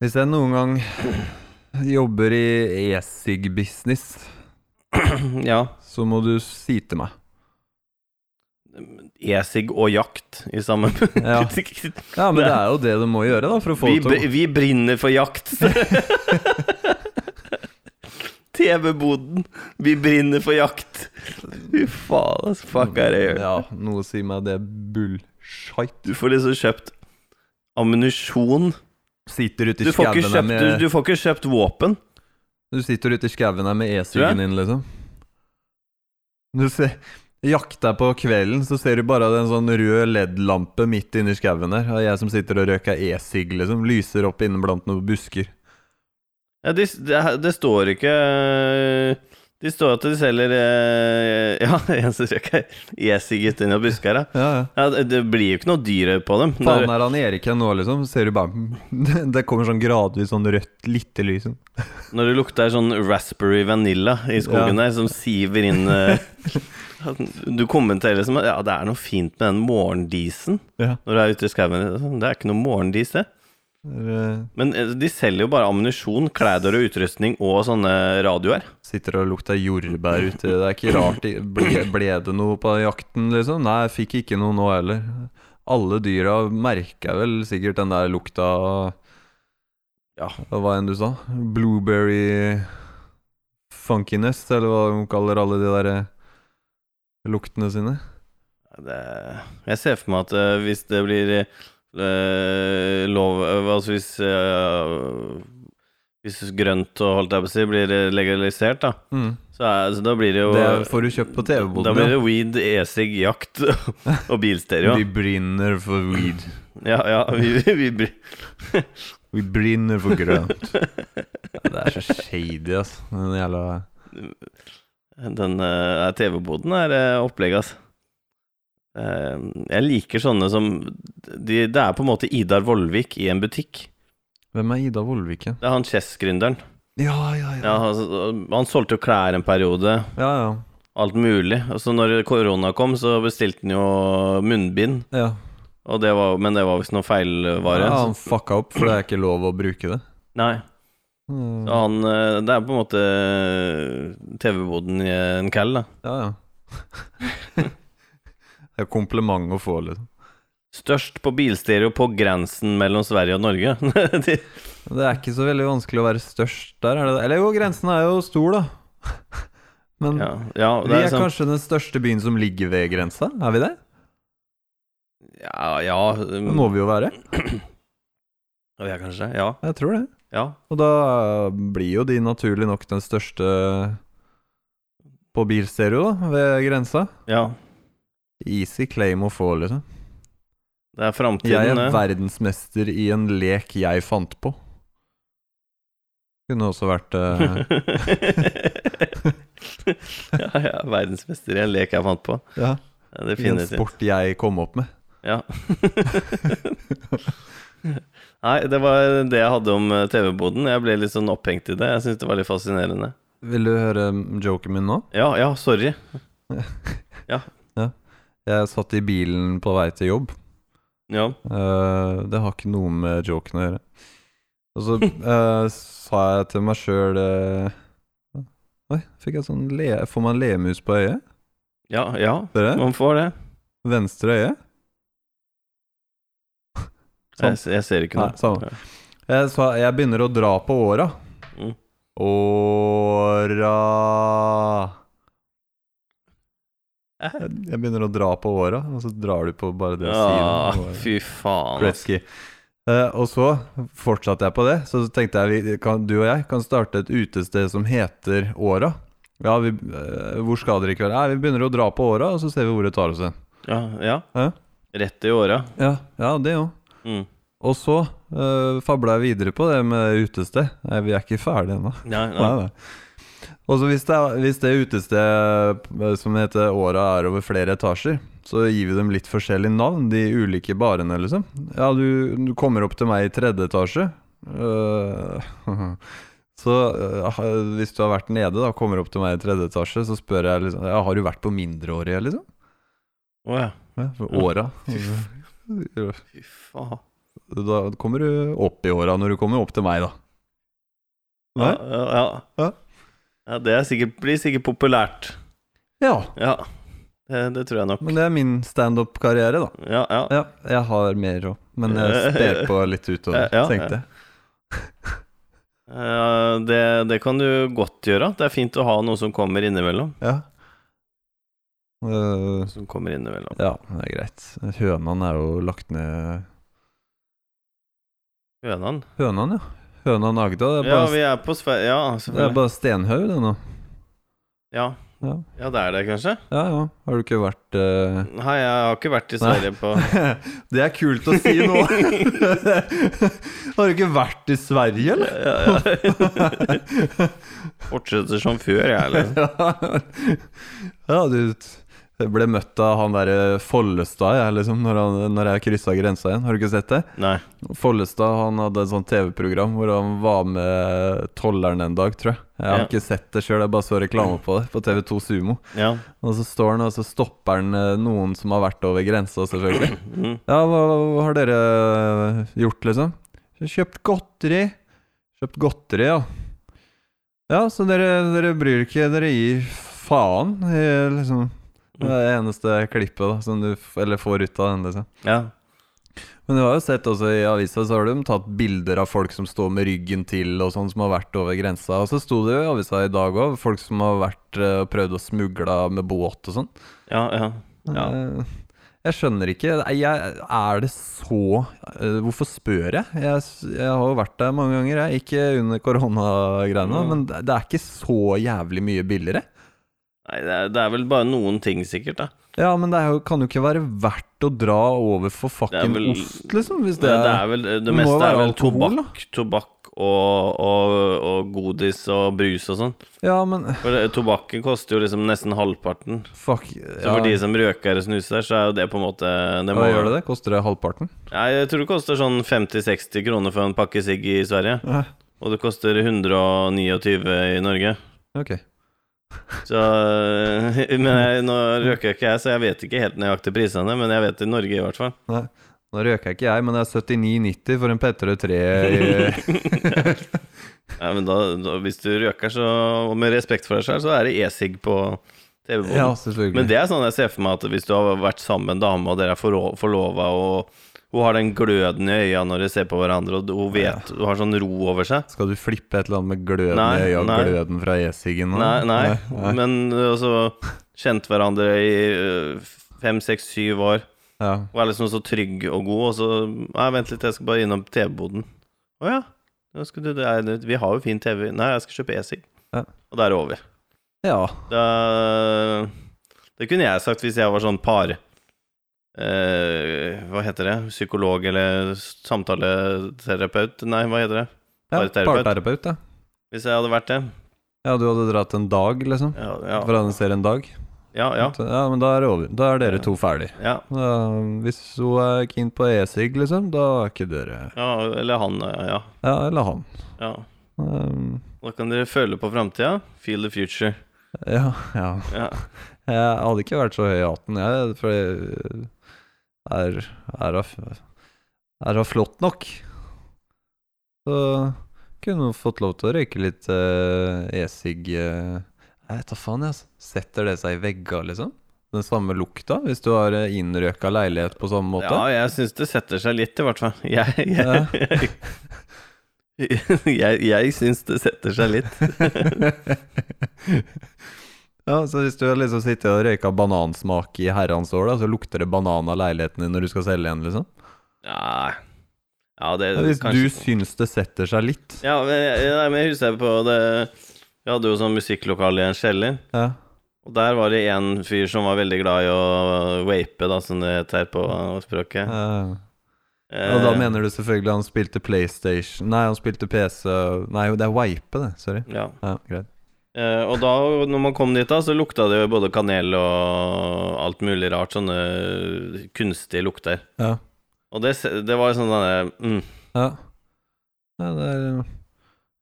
S2: Hvis jeg noen gang jobber i e-sig-business,
S3: ja. (clears throat)
S2: så må du si til
S3: (laughs)
S2: meg.
S3: E-sig og jakt I samme
S2: (laughs)
S3: (laughs)
S2: Ja. ja, men det er jo det du må gjøre da, for å få
S3: vi,
S2: det til å
S3: br- vi brinner for
S2: (laughs)
S3: jakt. TV-boden. Vi brinner for jakt. Fy faen, ass. Fuck er det jeg gjør.
S2: Ja, noe sier meg det er bullshit.
S3: Du får liksom kjøpt ammunisjon
S2: Sitter ute
S3: Du
S2: i
S3: får ikke
S2: skauen her
S3: kjøpt, du,
S2: med
S3: du får ikke kjøpt våpen.
S2: Du sitter ute i skauen her med
S3: Tror jeg.
S2: e-siggen din, liksom. Du ser Jakta på kvelden, så ser du bare en sånn rød LED-lampe midt inni skauen der. Og jeg som sitter og røyker e-sigg, liksom, lyser opp inneblant noen busker.
S3: Ja, de, det, det står ikke eh, De står at de selger eh, (laughs) Ja, en som røyker e-sigget inni busker her.
S2: Ja, ja.
S3: Ja, det- det blir jo ikke noe dyr på dem.
S2: Faen
S3: Når,
S2: er han Erik her nå, liksom? Ser du bare (laughs) Det kommer sånn gradvis sånn rødt lite lys. sånn.
S3: når det lukter sånn raspberry vanilla i skogen der, som siver inn eh, (laughs) Du kommenterer liksom at ja, det er noe fint med den morgendisen
S2: Ja.
S3: når du er ute i skauen. Det er ikke noe morgendis, det.
S2: Dere
S3: Men eh, de selger jo bare ammunisjon, klæder og utrustning og sånne radioer.
S2: Sitter og lukter jordbær ute. Det er ikke rart. de- Ble, ble det noe på jakten, liksom? Nei, jeg fikk ikke noe nå heller. Alle dyra merka vel sikkert den der lukta av
S3: Ja.
S2: Hva enn du sa? Blueberry funkiness, eller hva de kaller alle de der eh, luktene sine.
S3: Det, jeg ser for meg at eh, hvis det blir eh, lov eh, Altså hvis eh, Hvis grønt og holdt jeg på å si blir eh, legalisert, da,
S2: Mm.
S3: så, er, så da blir det jo
S2: Det får du kjøpt på
S3: Da blir
S2: TV-boden. ja.
S3: det weed, e-sig, jakt (laughs) og bilstereo.
S2: Vi brinner for weed.
S3: Ja, ja, vi, vi, blir- (laughs)
S2: Vi brinner for grønt. (laughs) Ja, det er så shady, altså. Den jævla
S3: den eh, TV-boden er eh, opplegg, altså. Eh, Jeg liker sånne som de, Det er på en måte Idar Vollvik i en butikk.
S2: Hvem er Ida Vollviken?
S3: Det er han Chess-gründeren.
S2: Ja, ja, ja.
S3: Ja, altså, han solgte jo klær en periode,
S2: Ja, ja.
S3: alt mulig. Og så når korona kom, så bestilte han jo munnbind,
S2: ja.
S3: og det var, men det var visst noe feilvare.
S2: ja
S3: så-
S2: han fucka opp, for det er ikke lov å bruke det.
S3: Nei,
S2: Mm.
S3: så han eh, Det er på en måte eh, TV-boden i en cal, da.
S2: Ja, ja. (laughs) Det er kompliment å få, liksom.
S3: Størst på bilstereo på grensen mellom Sverige og Norge. (laughs) De,
S2: Det er ikke så veldig vanskelig å være størst der, er det det? Eller jo, grensen er jo stor, da. (laughs) Men
S3: ja, ja, det
S2: vi er
S3: er sånn,
S2: kanskje den største byen som ligger ved grensa? Er vi det?
S3: ja, ja, mm.
S2: Det må vi jo være.
S3: ja, vi er kanskje det. Ja.
S2: Jeg tror det.
S3: ja.
S2: Og da eh, blir jo de naturlig nok den største på bilstereo, da, ved grensa.
S3: ja.
S2: Easy claim å få, liksom.
S3: Det er
S2: Jeg er
S3: framtiden, det.
S2: verdensmester i en lek jeg fant på. Kunne også vært
S3: (laughs)
S2: eh, (laughs)
S3: ja, ja, verdensmester i en lek jeg fant på.
S2: ja,
S3: Ja, det
S2: i en
S3: finnes jo.
S2: sport jeg kom opp med.
S3: Ja. (laughs) Nei, det var det jeg hadde om eh, TV-boden. Jeg ble litt sånn opphengt i det. Jeg syns det var litt fascinerende.
S2: Vil du høre mm, joken min nå?
S3: Ja, ja, sorry.
S2: Jeg satt i bilen på vei til jobb.
S3: Ja.
S2: Eh, det har ikke noe med joken å gjøre. Og så eh, sa jeg til meg sjøl Oi, fikk jeg sånn le... Får man lemus på øyet?
S3: Ja, ja.
S2: Ser du det?
S3: Man får det.
S2: Venstre øye?
S3: Jeg, jeg ser ikke
S2: Sånn. Nei,
S3: noe.
S2: samme. Jeg sa jeg begynner å dra på åra.
S3: Mm.
S2: Åra
S3: Eh.
S2: Jeg begynner å dra på åra, og så drar du på bare det
S3: Ja,
S2: siden.
S3: fy faen. ass.
S2: Gretzky. Eh, og så fortsatte jeg på det. Så tenkte jeg vi kan, du og jeg kan starte et utested som heter Åra. Ja, vi, eh, hvor skal dere i kveld? Nei, vi begynner å dra på Åra, og så ser vi hvor det tar oss hen.
S3: Ja, ja.
S2: Hæ?
S3: Rett i åra.
S2: Ja, ja, det jo.
S3: Mm.
S2: Og så uh, fabla jeg videre på det med utested. Nei, vi er ikke ferdige ennå.
S3: Nei, nei.
S2: Nei, nei. Og så hvis det, er- hvis det utestedet som heter Åra er over flere etasjer, så gir vi dem litt forskjellig navn, de ulike barene, liksom. Ja, du, du kommer opp til meg i tredje etasje. Øh, (laughs) så øh, ha- hvis du har vært nede da, og kommer opp til meg i tredje etasje, så spør jeg liksom ja, Har du vært på mindreårige, liksom?
S3: Å ja.
S2: Ja, for Åra.
S3: Fy faen.
S2: Da kommer du opp i åra når du kommer opp til meg, da.
S3: Ja,
S2: Nei?
S3: ja, ja.
S2: Hæ?
S3: ja det er sikkert, blir sikkert populært.
S2: Ja.
S3: Ja, det, det tror jeg nok.
S2: Men det er min standup-karriere, da.
S3: Ja, ja.
S2: Ja, jeg har mer òg, men jeg sper på litt utover,
S3: (laughs) Ja, ja.
S2: tenkte jeg.
S3: Eh, det, det kan du godt gjøre. Det er fint å ha noe som kommer innimellom.
S2: Ja. Eh,
S3: Som kommer innimellom.
S2: ja, det er greit. Hønan er jo lagt ned
S3: Hønan?
S2: Hønan, ja. Hønan Agda. Det er
S3: Ja,
S2: bare,
S3: vi er på Sverige Ja,
S2: det er
S3: selvfølgelig.
S2: bare Stenhaug, det nå.
S3: Ja.
S2: Ja.
S3: ja, det er det kanskje?
S2: Ja, ja. Har du ikke vært eh, (laughs)
S3: Nei, jeg har ikke vært i
S2: Nei.
S3: Sverige på
S2: (laughs) Det er kult å si
S3: (laughs)
S2: nå. (laughs) Har du ikke vært i Sverige,
S3: (laughs)
S2: eller?
S3: Fortsetter som før, jeg,
S2: (laughs)
S3: eller?
S2: Ja, du jeg ble møtt av han derre Follestad, jeg, liksom, når, han, når jeg kryssa grensa igjen. Har du ikke sett det?
S3: Nei.
S2: Follestad han hadde et sånt TV-program hvor han var med tolleren en dag, tror jeg. Jeg har
S3: Ja.
S2: ikke sett det sjøl, jeg bare så reklame på det på TV2 Sumo.
S3: Ja.
S2: Og så står han, og så stopper han eh, noen som har vært over grensa, selvfølgelig.
S3: Mm.
S2: Ja, hva, hva har dere gjort, liksom? Kjøpt godteri. Kjøpt godteri, ja. Ja, så dere, dere bryr ikke Dere gir faen, eh, liksom. Det er det eneste klippet da, som du f- eller får ut av den. liksom.
S3: ja.
S2: Men du har jo sett også i avisa så har de tatt bilder av folk som står med ryggen til, og sånn som har vært over grensa. Og så sto det jo i avisa i dag òg, folk som har vært eh, og prøvd å smugle med båt og sånn.
S3: Ja, ja. ja.
S2: Eh, Jeg skjønner ikke. Nei, Jeg, er det så eh, Hvorfor spør jeg? jeg? s- Jeg har jo vært der mange ganger, jeg. Ikke under koronagreiene,
S3: Mm.
S2: men det det er ikke så jævlig mye billigere.
S3: Nei, det er, det er vel bare noen ting, sikkert, da.
S2: Ja, men det er jo, kan jo ikke være verdt å dra over for fucking
S3: vel-
S2: ost, liksom. Hvis
S3: Det,
S2: det,
S3: det er vel
S2: det
S3: Det
S2: må
S3: meste
S2: være
S3: er vel
S2: alkohol, da.
S3: tobakk, tobakk og, og, og godis og brus og sånn.
S2: Ja, men
S3: For eh, tobakken koster jo liksom nesten halvparten.
S2: fuck
S3: Så
S2: ja.
S3: for de som røker eller snuser, så er jo det på en måte det
S2: Hva
S3: må-
S2: gjør det det? Koster det halvparten?
S3: Nei, jeg tror det koster sånn 50-60 kroner for en pakke sigg i Sverige.
S2: Ja.
S3: Og det koster 129 i Norge.
S2: Ok.
S3: Så (laughs) Men jeg, nå røker ikke jeg, så jeg vet ikke helt nøyaktig prisene, men jeg vet i Norge i hvert fall.
S2: Nei. Nå røker ikke jeg, men det er 79,90 for en P3 3
S3: (laughs)
S2: i
S3: Ja, men da, da, hvis du røker, så og med respekt for deg sjøl, så er det e-sigg på TV-båten.
S2: Ja, selvfølgelig.
S3: men det er sånn jeg ser for meg at hvis du har vært sammen med en dame, og dere er forlo- forlova, og hun har den gløden i øya når dere ser på hverandre, og hun vet Hun har sånn ro over seg
S2: Skal du flippe et eller annet med gløden
S3: Nei,
S2: i øya,
S3: nei.
S2: gløden fra e-siggen? nå?
S3: Nei, nei,
S2: nei.
S3: men uh, altså Kjent hverandre i uh, fem, seks, syv år
S2: Ja.
S3: Og er liksom så trygg og god Og så, nei, vent litt, jeg skal bare innom TV-boden Åja, nå skal du, det er, vi har jo fin TV Nei, jeg skal kjøpe e-sig
S2: Ja.
S3: Og da er det over
S2: ja.
S3: da, Det kunne jeg sagt hvis jeg var sånn par eh, Hva heter det? Psykolog eller samtaleterapeut Nei, hva heter det?
S2: ja
S3: Parterapeut.
S2: Parterapeut, ja.
S3: Hvis jeg hadde vært det
S2: Ja, du hadde dratt en dag, liksom?
S3: Ja,
S2: For
S3: ja,
S2: han ser en dag?
S3: ja, ja,
S2: Så, ja, men da er det over. Da er dere
S3: Ja.
S2: to ferdig.
S3: ja.
S2: Da, hvis hun er keen på e-sig, liksom, da er ikke dere
S3: Ja, eller han, ja.
S2: Ja, eller han.
S3: ja.
S2: Um,
S3: Da kan dere føle på framtida. Feel the future.
S2: ja, ja.
S3: Ja.
S2: Jeg hadde ikke vært så høy i hatten, jeg, for jeg er, er, da f- er da flott nok. Så kunne hun fått lov til å røyke litt eh, e-sigg eh. Jeg vet da faen, jeg. altså. Setter det seg i vegga, liksom? Den samme lukta, hvis du har eh, innrøka leilighet på samme måte?
S3: ja, jeg syns det setter seg litt, i hvert fall. (laughs) Jeg
S2: Ja.
S3: Jeg, jeg, jeg, jeg syns det setter seg litt.
S2: (laughs) Ja, så hvis du har liksom sittet og røyka banansmak i herrens år, da, så lukter det banan av leiligheten din når du skal selge den, liksom?
S3: Ja, ja det
S2: Ja, Hvis
S3: kanskje-
S2: du syns det setter seg litt.
S3: Ja, men jeg, nei, men jeg husker på det Vi hadde jo sånn musikklokale i en kjeller.
S2: Ja.
S3: Og der var det en fyr som var veldig glad i å vape, da, som det heter på språket.
S2: ja.
S3: Eh,
S2: Og da mener du selvfølgelig han spilte PlayStation Nei, han spilte PC Nei, det er Wipe, det. Sorry.
S3: ja.
S2: Ja, greit.
S3: Eh, og da, når man kom dit, da, så lukta det jo både kanel og alt mulig rart. Sånne kunstige lukter.
S2: Ja.
S3: Og det, se- det var sånn derre mm,
S2: ja. ja det er,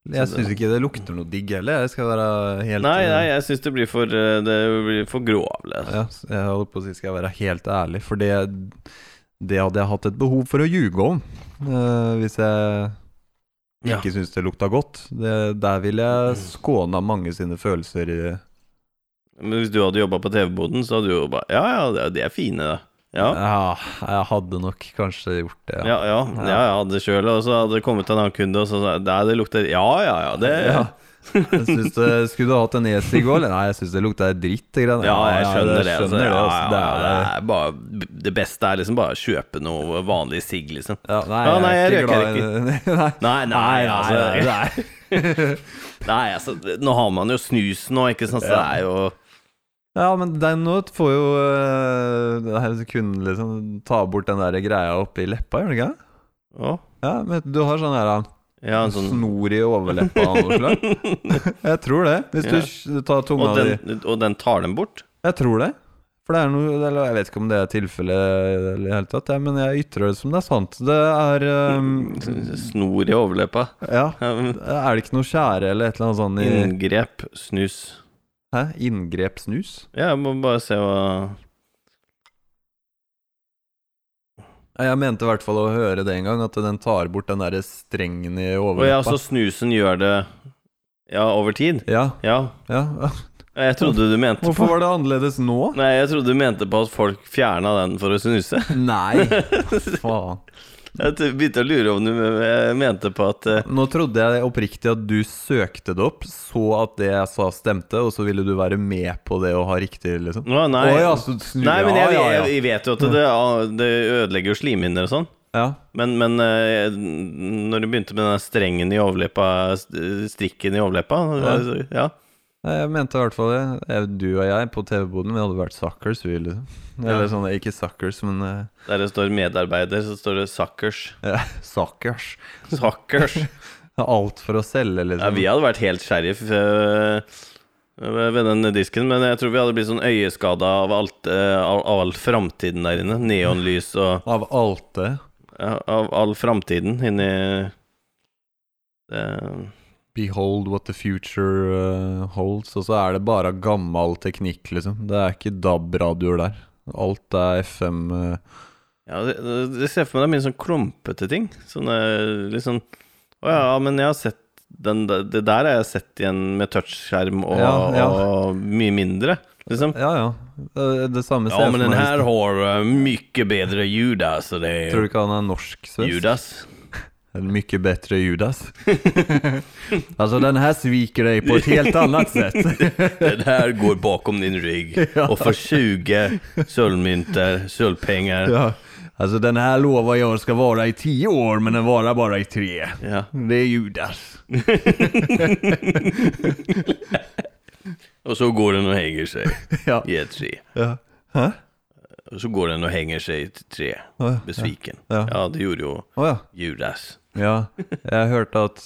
S2: jeg
S3: Så det-
S2: syns ikke det lukter noe digg heller. Jeg skal være helt
S3: Nei, nei, jeg syns det blir for eh, Det blir for altså. grovlig.
S2: ja, Jeg holdt på å si skal jeg være helt ærlig, for det, det hadde jeg hatt et behov for å ljuge om. eh, hvis jeg
S3: Ja. Mm.
S2: ikke syns det lukta godt. Det, der ville jeg skåna mange sine følelser i
S3: Men hvis du hadde jobba på TV-boden, så hadde du jo bare Ja, ja, det er- de er fine, da. Ja,
S2: Ja, jeg hadde nok kanskje gjort det.
S3: ja, ja, ja jeg hadde sjøl, og så hadde det kommet en annen kunde, og så sa jeg, Nei, det lukter Ja, ja, ja, det
S2: Ja. Jeg synes det, skulle du hatt en e-sigg òg, eller? Nei, jeg syns det lukter dritt. det greiene.
S3: Ja, jeg
S2: Ja,
S3: skjønner det.
S2: jeg
S3: altså.
S2: skjønner det,
S3: Ja,
S2: altså.
S3: ja,
S2: Det er det.
S3: det er bare, det beste er liksom bare å kjøpe noe vanlig sigg, liksom.
S2: Ja, nei,
S3: Ja, nei,
S2: er
S3: jeg røker
S2: glad i- (laughs) Nei,
S3: Nei, nei, altså,
S2: nei,
S3: (laughs) nei,
S2: nei.
S3: altså det- Nå har man jo snus nå, ikke sant, så det er jo
S2: Ja, men den nå får jo øh, det her Kunne liksom ta bort den der greia oppi leppa, gjør den ikke det?
S3: Å,
S2: Ja, men du har sånn her
S3: ja, en sånn
S2: snor i overleppa av noe
S3: (laughs)
S2: slag. Jeg tror det. Hvis du
S3: Ja.
S2: sj- tar tunga
S3: og
S2: di
S3: den, og den tar dem bort?
S2: Jeg tror det. For det er noe Eller jeg vet ikke om det er tilfellet i det hele tatt, jeg, men jeg ytrer det som det er sant. Det er øhm,
S3: Snor i overleppa.
S2: Ja.
S3: Ja, men
S2: Er det ikke noe skjære eller et eller annet sånt i
S3: Mm. Inngrep, snus.
S2: Hæ? Inngrepsnus?
S3: Ja, jeg må bare se hva
S2: Jeg mente i hvert fall å høre det en gang, at den tar bort den derre strengen i
S3: Å ja,
S2: overleppa.
S3: så snusen gjør det Ja, over tid?
S2: ja,
S3: Ja.
S2: ja.
S3: Jeg trodde du mente på
S2: Hvorfor var det annerledes nå?
S3: Nei, jeg trodde du mente på at folk fjerna den for å snuse.
S2: Nei, faen.
S3: (laughs) Jeg t- begynte å lure om du eh, mente på at eh,
S2: Nå trodde jeg oppriktig at du søkte det opp, så at det jeg sa stemte, og så ville du være med på det og ha riktig, liksom.
S3: Å nei.
S2: Å ja, så snur
S3: nei, men jeg,
S2: ja, ja,
S3: jeg,
S2: ja.
S3: jeg vet jo at det, ah, det ødelegger jo slimhinner og sånn.
S2: ja.
S3: Men, men eh, når du begynte med den der strengen i overleppa, st- strikken i overleppa eh, Ja.
S2: Nei, Jeg mente i hvert fall det. Jeg- Du og jeg på TV-boden, vi hadde vært suckers, vi, liksom. Eller sånn, ikke suckers, men eh,
S3: Der det står 'medarbeider', så står det 'suckers'.
S2: ja, (laughs) suckers.
S3: Suckers.
S2: Alt for å selge,
S3: Ja,
S2: liksom.
S3: vi hadde vært helt sheriff eh, ved den disken, men jeg tror vi hadde blitt sånn øyeskada av alt, eh, av, av all framtiden der inne. Neonlys og
S2: Av alt det.
S3: ja, Av all framtiden inni eh,
S2: Behold what the future eh, holds. Og så er det bare gammel teknikk, liksom. Det er ikke DAB-radioer der. Alt er FM eh,
S3: Ja, det, det- det ser for meg det er mye sånn klumpete ting. Sånne litt sånn Å ja, men jeg har sett den, der- det der har jeg sett igjen med touchskjerm og,
S2: Ja, ja.
S3: og mye mindre, liksom.
S2: Ja, ja. Eh, Det samme ser
S3: Ja,
S2: jeg for
S3: men den
S2: meg.
S3: her har eh, mye bedre ljud, altså. Det
S2: Tror du ikke han er norsk-svensk?
S3: Judas.
S2: En mye bedre Judas.
S3: (laughs)
S2: altså, den her sviker deg på et helt annet
S3: (laughs)
S2: sett.
S3: Den her går bakom din rygg
S2: (laughs)
S3: og får 20 sølvmynter, sølvpenger.
S2: ja. Altså, den her lover jeg skal vare i ti år, men den varer bare i tre.
S3: Ja.
S2: Det er Judas.
S3: Og så går den og henger seg
S2: ja.
S3: i et tre.
S2: ja. Hæ?
S3: Og så går den og henger seg i et tre,
S2: Å
S3: besviken.
S2: Ja.
S3: Ja, det gjorde jo
S2: ja.
S3: Judas.
S2: Ja, jeg hørte at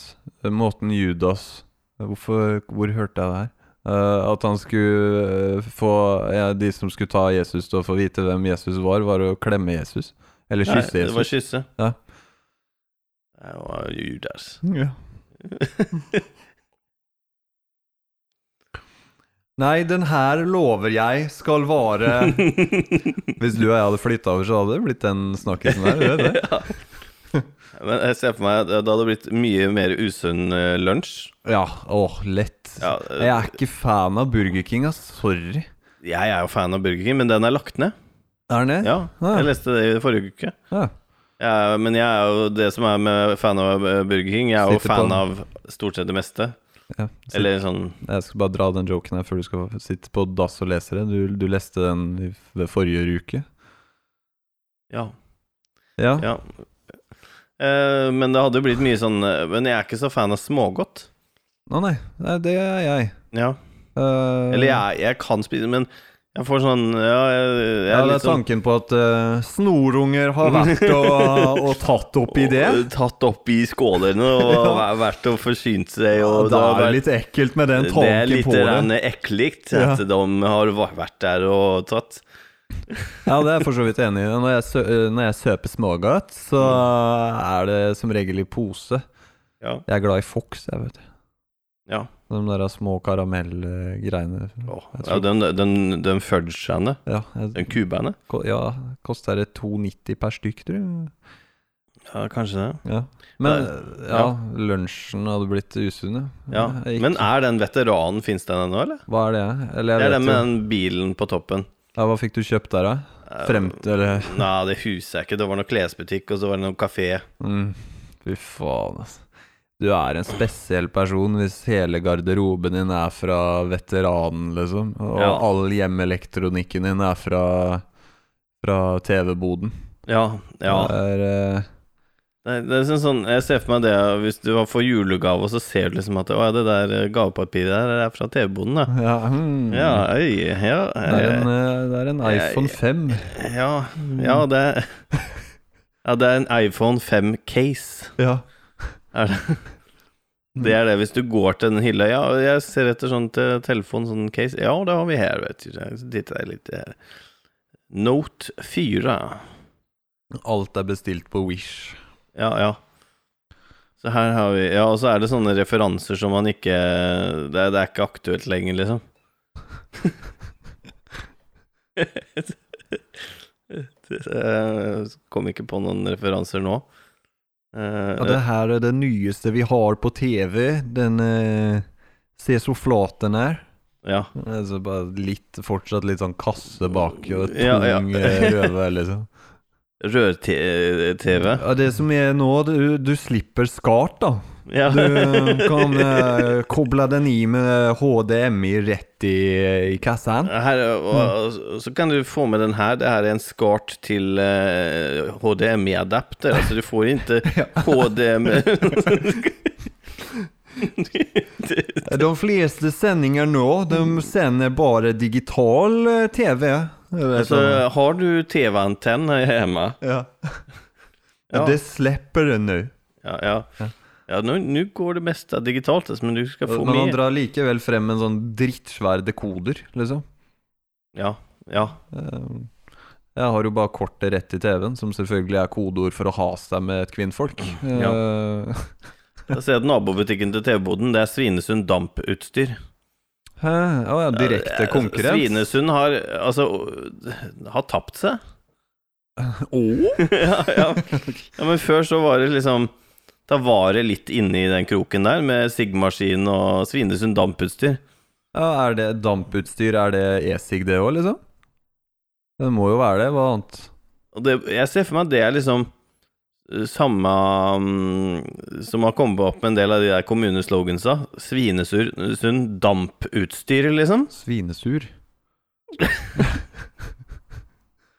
S2: måten Judas Hvorfor, Hvor hørte jeg det her? Eh, at han skulle eh, få ja, De som skulle ta Jesus til å få vite hvem Jesus var, var å klemme Jesus. Eller
S3: Nei,
S2: kysse
S3: det var
S2: Jesus.
S3: kysse.
S2: Ja.
S3: Det var Judas.
S2: Ja. Nei, den her lover jeg skal
S3: (laughs)
S2: vare Hvis du og jeg hadde flytta over, så hadde det blitt den snakkisen der. du
S3: (laughs)
S2: vet det?
S3: Ja. Men jeg ser for meg at det hadde blitt mye mer usunn eh, lunsj.
S2: Ja, åh, lett.
S3: Ja,
S2: Jeg er ikke fan av Burger King, ass. Sorry.
S3: jeg er jo fan av Burger King, men den er lagt ned.
S2: Er den det?
S3: Ja, jeg leste det i forrige uke.
S2: Ja.
S3: Ja, men jeg er jo det som er med fan av eh, Burger King. Jeg er jo
S2: Sitter på
S3: fan
S2: den.
S3: av stort sett det meste.
S2: Ja, så
S3: Eller sånn
S2: Jeg skal bare dra den joken her før du skal sitte på dass og lese det. Du, du leste den i, ved forrige uke.
S3: Ja.
S2: Ja.
S3: ja. Eh, men det hadde jo blitt mye sånn eh, Men jeg er ikke så fan av smågodt.
S2: Å nei, nei, det er jeg.
S3: Ja.
S2: Eh,
S3: Eller jeg, jeg kan spise, men jeg får sånn Ja, jeg, jeg
S2: ja,
S3: er
S2: det
S3: litt sånn-
S2: er tanken på at eh, snorunger har vært og, og tatt opp i det.
S3: og- Tatt opp i skålene
S2: (laughs)
S3: og vært og forsynt seg.
S2: Og
S3: (laughs) Og
S2: da
S3: har
S2: er det
S3: vært-
S2: litt ekkelt med den
S3: det er
S2: tanken
S3: litt
S2: på det.
S3: rann ekkelt at de har va- vært der og tatt.
S2: Ja, det er jeg for så vidt enig i. Når jeg, sø eh, når jeg søper smågodt, så er det som regel i pose.
S3: Ja.
S2: Jeg er glad i Fox, jeg, vet du.
S3: Ja.
S2: De der små karamellgreiene.
S3: Åh,
S2: Jeg
S3: ja
S2: tror-
S3: den, den, den fudgene,
S2: Ja, jeg,
S3: den kuberne.
S2: Ko- Ja, koster det 2,90 per stykk, tror jeg.
S3: Ja, kanskje det.
S2: Ja. Men
S3: Nei,
S2: ja,
S3: ja.
S2: lunsjen hadde blitt usunn, ja.
S3: Ja.
S2: Jeg gikk-
S3: Men er den veteranen, fins den ennå, eller?
S2: Hva er det? Eller
S3: Det
S2: jeg
S3: er den
S2: vet
S3: med
S2: jo
S3: den bilen på toppen.
S2: ja, Hva fikk du kjøpt der, da?
S3: Eh,
S2: Frem til eller
S3: Nei, det husker jeg ikke. Det var noe klesbutikk, og så var det noe kafé.
S2: mm. Fy faen, altså. Du er en spesiell person hvis hele garderoben din er fra veteranen, liksom. Og
S3: Ja.
S2: all hjemmeelektronikken din er fra, fra TV-boden.
S3: Ja, ja.
S2: Det er, eh,
S3: Nei, Det er sånn, sånn, jeg ser for meg det hvis du har- får julegave, og så ser du liksom at Å ja, det der eh, gavepapiret der er fra TV-boden, da.
S2: ja, hmm.
S3: Ja, øy, ja,
S2: Det er en,
S3: eh,
S2: eh, det er en
S3: jeg-
S2: iPhone 5.
S3: ja, ja, det er (laughs) Ja, det er en iPhone 5-case.
S2: Ja.
S3: Er det? det er det, hvis du går til den hylla Ja, jeg ser etter sånn til telefon, sånn case Ja, det har vi her, vet du. Så titter jeg litt her. Note 4.
S2: Alt er bestilt på Wish.
S3: Ja, ja. Så her har vi Ja, og så er det sånne referanser som man ikke Det, er- det er ikke aktuelt lenger, liksom. (laughs) Jeg eh, kom ikke på noen referanser nå. Eh,
S2: Ja, det her er det nyeste vi har på TV. Den eh, Se så flat den er.
S3: ja.
S2: Altså bare litt, fortsatt litt sånn kasse bak og tung
S3: Ja, ja.
S2: eh, røve, liksom.
S3: Rør-TV.
S2: Ja, det som er nå, du, du slipper skart, da.
S3: Ja.
S2: Du (laughs) eh, kan eh, koble den i med HDMI rett i, eh, i kassen.
S3: Her, og, og så kan du få med den her. Det her er en skart til eh, HDMI-adapter. Altså, du
S2: (laughs)
S3: får ikke (laughs) HDMI
S2: De fleste sendinger nå, de sender bare digital eh, TV. Eller
S3: altså,
S2: sånn.
S3: Har du TV-antenn her hjemme?
S2: ja.
S3: Ja.
S2: Det slipper den nå.
S3: Ja, ja. ja nå nå går det meste digitalt, altså, men du skal få
S2: Men han
S3: med
S2: drar likevel frem en sånn drittsvær dekoder, liksom.
S3: Ja, ja.
S2: Eh, Jeg har jo bare kortet rett til TV-en, som selvfølgelig er kodeord for å ha seg med et kvinnfolk. Eh, (laughs)
S3: Jeg ser at nabobutikken til TV-boden, det er Svinesund Damputstyr.
S2: Hæ? Å ja,
S3: Eh,
S2: direkte konkurrent?
S3: Svinesund har altså har tapt seg.
S2: (laughs) Å?
S3: (laughs) ja, ja. ja, men før så var det liksom Da var det litt inne i den kroken der med sigmaskin og Svinesund damputstyr.
S2: Ja, er det damputstyr? Er det e-sig, det òg, liksom? Det må jo være det. Hva annet?
S3: Og det, jeg ser for meg at det er liksom eh, samme mm, som har kommet opp med en del av de der kommuneslogansa. Svinesund damputstyr, liksom.
S2: Svinesur?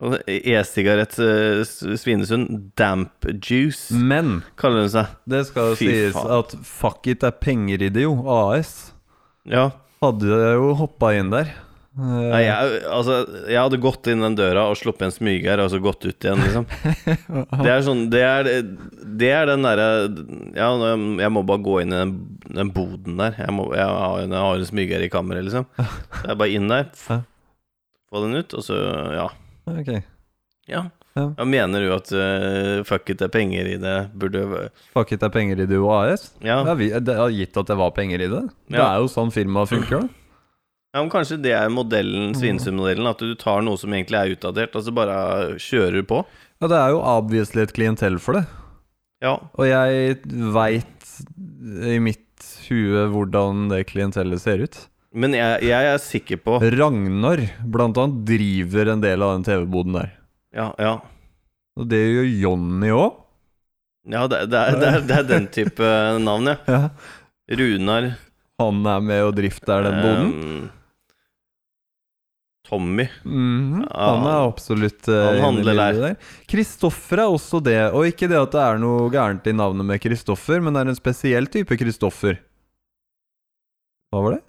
S3: Og E-sigarett eh, S- Svinesund damp juice,
S2: Men
S3: kaller den seg.
S2: det skal
S3: Fy
S2: sies
S3: faen.
S2: at fuck it er penger i det, jo. AS.
S3: Ja.
S2: Hadde jeg jo hoppa inn der. Eh,
S3: Nei, jeg, altså, jeg hadde gått inn den døra og sluppet en smyger, og så gått ut igjen,
S2: (laughs)
S3: liksom. Det er sånn Det er, det er den derre Ja, nå- jeg må bare gå inn i den, den boden der. Jeg, må, jeg, har, jeg har en smyger i kammeret, liksom. Så jeg bare inn der,
S2: Ja.
S3: få den ut, og så Ja.
S2: Ok.
S3: Ja.
S2: Ja.
S3: Ja, mener du at eh, fuck it, det er penger i det? Burde
S2: Fuck it er penger i det, jo. AS.
S3: Ja.
S2: Ja, vi, det har gitt at det var penger i det. Det
S3: Ja.
S2: er jo sånn firmaet funker. da.
S3: Ja, men Kanskje det er modellen,
S2: Mm.
S3: Svinesund-modellen, at du tar noe som egentlig er utdatert, og så bare kjører du på?
S2: Ja, det er jo obviously et klientell for det.
S3: Ja.
S2: Og jeg veit i mitt hue hvordan det klientellet ser ut.
S3: Men jeg, jeg er sikker på
S2: Ragnar, blant annet, driver en del av den TV-boden der.
S3: Ja, ja.
S2: Og det gjør Jonny òg.
S3: Ja, det, det, er, det, er, det er den type navn, ja.
S2: Ja.
S3: Runar.
S2: Han er med og drifter den boden.
S3: ehm, Tommy.
S2: Mhm, Han er absolutt eh,
S3: Han
S2: inne i
S3: handler
S2: bildet der. Kristoffer er også det. Og ikke det at det er noe gærent i navnet med Kristoffer, men det er en spesiell type Kristoffer. Hva var det?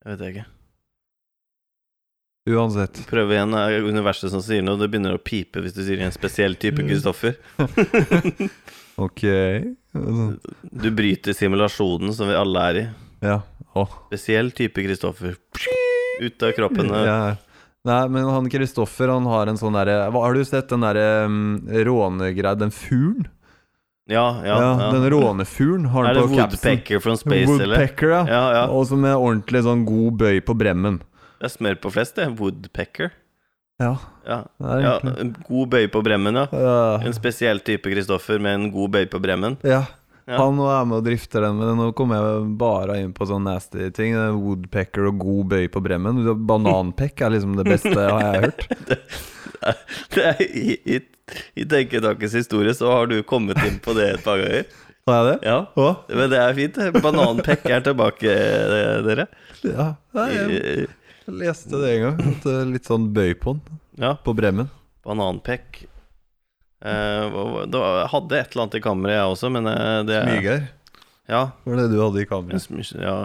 S3: Jeg vet ikke.
S2: Uansett.
S3: Prøv igjen. Det er universet som sier noe. Det begynner å pipe hvis du sier en spesiell type
S2: Mm.
S3: Kristoffer.
S2: Ok
S3: Du bryter simulasjonen som vi alle er i.
S2: Ja. Å.
S3: Spesiell type Kristoffer. Ut av kroppen.
S2: ja. Nei, men han Kristoffer, han har en sånn derre Hva- Har du sett den derre um, rånegreia? Den fuglen?
S3: Ja, ja. ja.
S2: Den rånefuglen har
S3: Er det
S2: han på capsen.
S3: Woodpecker from Space, eller?
S2: Woodpecker, ja.
S3: Ja, ja.
S2: Og så med ordentlig sånn god bøy på bremmen.
S3: Det er smør på flest, det. Woodpecker.
S2: Ja,
S3: Ja.
S2: det er
S3: ja.
S2: egentlig
S3: en God bøy på bremmen, ja.
S2: Ja.
S3: En spesiell type Kristoffer med en god bøy på bremmen.
S2: Ja.
S3: Ja.
S2: Han nå er med og drifter den, men nå kommer jeg bare inn på sånne nasty ting. Det er Woodpecker og god bøy på bremmen. Bananpeck er liksom det beste har jeg hørt.
S3: (laughs) Det er, i, i, I Tenketakens historie så har du kommet inn på det et par ganger.
S2: Sa jeg det?
S3: Ja,
S2: Å?
S3: men det er fint. Bananpekk er tilbake, eh, dere.
S2: Ja. Nei, jeg
S3: I-
S2: leste det en gang. At det er litt sånn bøy på den.
S3: Ja,
S2: På bremmen.
S3: bananpekk. Eh, hva- det var- jeg hadde et eller annet i kammeret, jeg også, men eh, det
S2: Smygeir.
S3: Ja.
S2: Var det du hadde i
S3: en
S2: kammeret?
S3: smy- ja.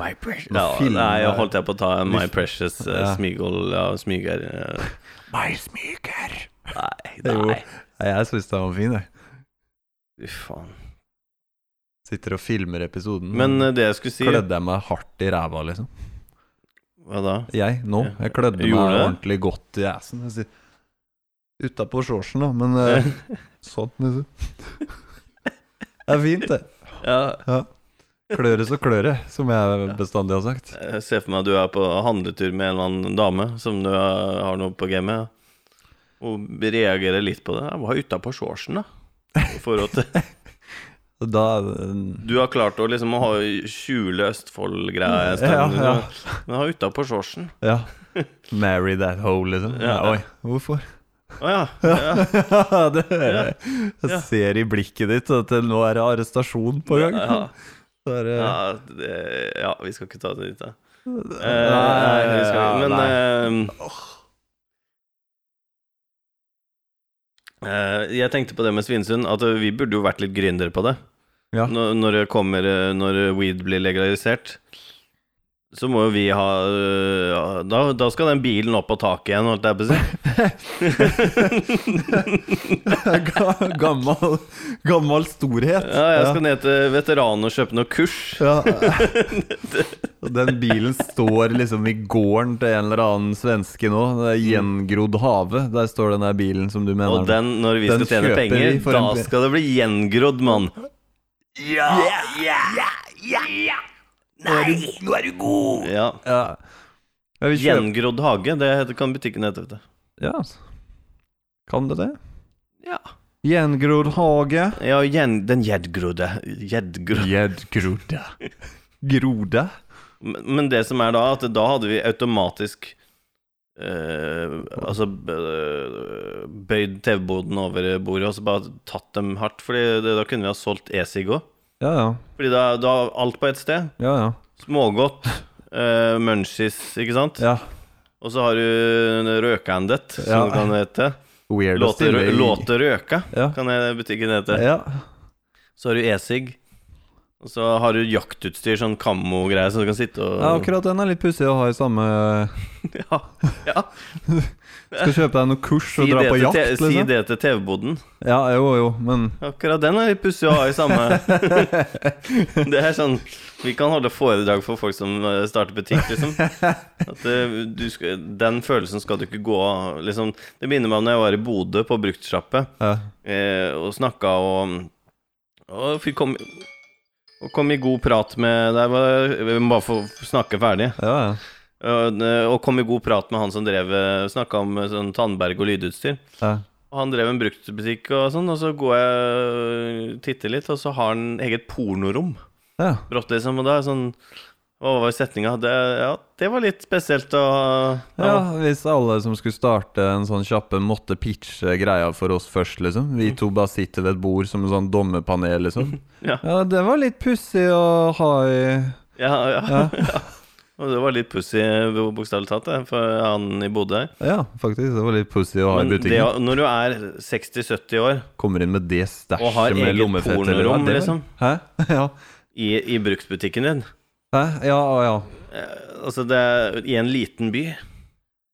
S3: My precious
S2: Nå
S3: ja,
S2: filmer
S3: Nei, jeg
S2: jeg.
S3: holdt jeg på å ta en My Precious eh,
S2: Ja.
S3: Smigol ja, Smyger. eh.
S2: My smyger.
S3: Nei,
S2: Jo.
S3: nei.
S2: Nei, jeg syns den var fin, jeg.
S3: Fy faen.
S2: Sitter og filmer episoden.
S3: Men eh, det jeg skulle si
S2: klødde jeg meg hardt i ræva, liksom.
S3: Hva da?
S2: Jeg, nå. Jeg klødde meg
S3: Gjorde det?
S2: ordentlig godt i assen. jeg sier. Utapå shortsen, da, men eh, (laughs) sånn, liksom. Det er fint, det.
S3: (laughs) ja,
S2: Kløre så kløre, som jeg bestandig har sagt.
S3: jeg ser for meg at du er på handletur med en eller annen dame som du har har noe på gamet. Og reagerer litt på det. Jeg var utapå shortsen, da. I forhold til
S2: (laughs) Og Da eh,
S3: Du har klart å liksom ha skjule Østfold-greia en
S2: Ja,
S3: stund,
S2: ja.
S3: men ha utapå shortsen.
S2: Ja. Marry that hole, liksom. Ja,
S3: Ja.
S2: oi, hvorfor? (laughs)
S3: Å ja. ja.
S2: Ja, det hører jeg.
S3: Ja.
S2: Jeg ser i blikket ditt at det- nå er det arrestasjon på gang.
S3: ja.
S2: Så er det-
S3: Ja, det, ja, vi skal ikke ta det dit, da. Eh,
S2: Nei,
S3: vi skal,
S2: ja,
S3: men
S2: nei.
S3: eh, eh, Jeg tenkte på det med Svinesund, at eh, vi burde jo vært litt gründere på det.
S2: Ja.
S3: Når, når, det kommer, eh, når weed blir legalisert, så må jo vi ha eh, ja, da, da skal den bilen opp på taket igjen, holdt jeg på å
S2: (laughs)
S3: si.
S2: (laughs) Ga- Gammel, gammel storhet.
S3: Ja, jeg skal ned til veteran og kjøpe noe kurs.
S2: Ja. Og Den bilen står liksom i gården til en eller annen svenske nå. Det er gjengrodd have. Der står den der bilen som du mener.
S3: Mm. Og den, når vi
S2: Den
S3: skal tjene
S2: kjøper
S3: penger,
S2: vi for
S3: da
S2: en ple-
S3: skal det bli gjengrodd, mann.
S1: Nå er du god!
S3: Ja.
S2: ja. Ja, vi kjøper-
S3: Gjengrodd hage, det heter- kan butikken hete, vet du.
S2: ja. altså. Kan det det?
S3: Ja.
S2: Gjengrodd hage.
S3: Ja, gjen, den gjedgrodde. Gjedgrodde.
S2: Gjedgrodde. Grode?
S3: Men men det som er da, at da hadde vi automatisk eh, Altså eh, bøyd TV-boden over bordet og så bare tatt dem hardt. Fordi det, da kunne vi ha solgt e-sig òg.
S2: Ja, ja.
S3: Fordi da, da alt på ett sted.
S2: Ja, ja.
S3: Smågodt, eh, munchies, ikke sant?
S2: ja.
S3: Og så har du røkandet, som
S2: Ja.
S3: det kan hete.
S2: Weird å
S3: Låter,
S2: stille i-
S3: låter røka,
S2: Ja.
S3: kan det butikken hete.
S2: Ja.
S3: Så har du e-sig. Og så har du jaktutstyr, sånn kammo-greier, så du kan sitte og
S2: ja, akkurat den er litt pussig å ha i samme
S3: (laughs) Ja, ja.
S2: Skal kjøpe deg noe kurs
S3: Si,
S2: og dra
S3: det
S2: på
S3: til,
S2: jakt,
S3: te- si
S2: liksom.
S3: det til TV-boden.
S2: Ja, jo, jo, men
S3: Akkurat den er litt pussig å ha i samme
S2: (laughs)
S3: Det er sånn Vi kan holde foredrag for folk som eh, starter butikk, liksom. At eh, du skal, den følelsen skal du ikke gå av, liksom. Det minner meg om da jeg var i Bodø, på bruktsjappe,
S2: ja.
S3: eh, og snakka og Og fikk kom, og kom i god prat med Der var Vi må bare få snakke ferdig.
S2: Ja, ja.
S3: Og, eh, og kom i god prat med han som drev snakka om sånn tannberg og lydutstyr.
S2: ja.
S3: Og han drev en bruktbutikk og sånn, og så går jeg og titter litt, og så har han eget pornorom.
S2: ja.
S3: Brått, liksom. Og da er sånn Hva var setninga? Det, ja, det var litt spesielt å
S2: Ja, hvis alle som skulle starte en sånn kjappe, måtte pitche greia for oss først, liksom.
S3: Mm.
S2: Vi to bare sitter ved et bord som en sånn dommerpanel, liksom.
S3: (laughs) Ja.
S2: Ja, det var litt pussig å ha i
S3: Ja, ja, ja. (laughs) Og det var litt pussig, bokstavelig talt, det, for han i Bodø her.
S2: Ja, faktisk. Det var litt pussig å ha i
S3: Men det,
S2: butikken.
S3: å- når du er 60-70 år
S2: Kommer inn med det
S3: Og har
S2: stæsjet med
S3: eget
S2: lommefett eller
S3: pornorom,
S2: det var-
S3: liksom.
S2: Hæ? Ja.
S3: i, i bruktbutikken din
S2: Hæ? Ja, å, ja.
S3: Altså, det er i en liten by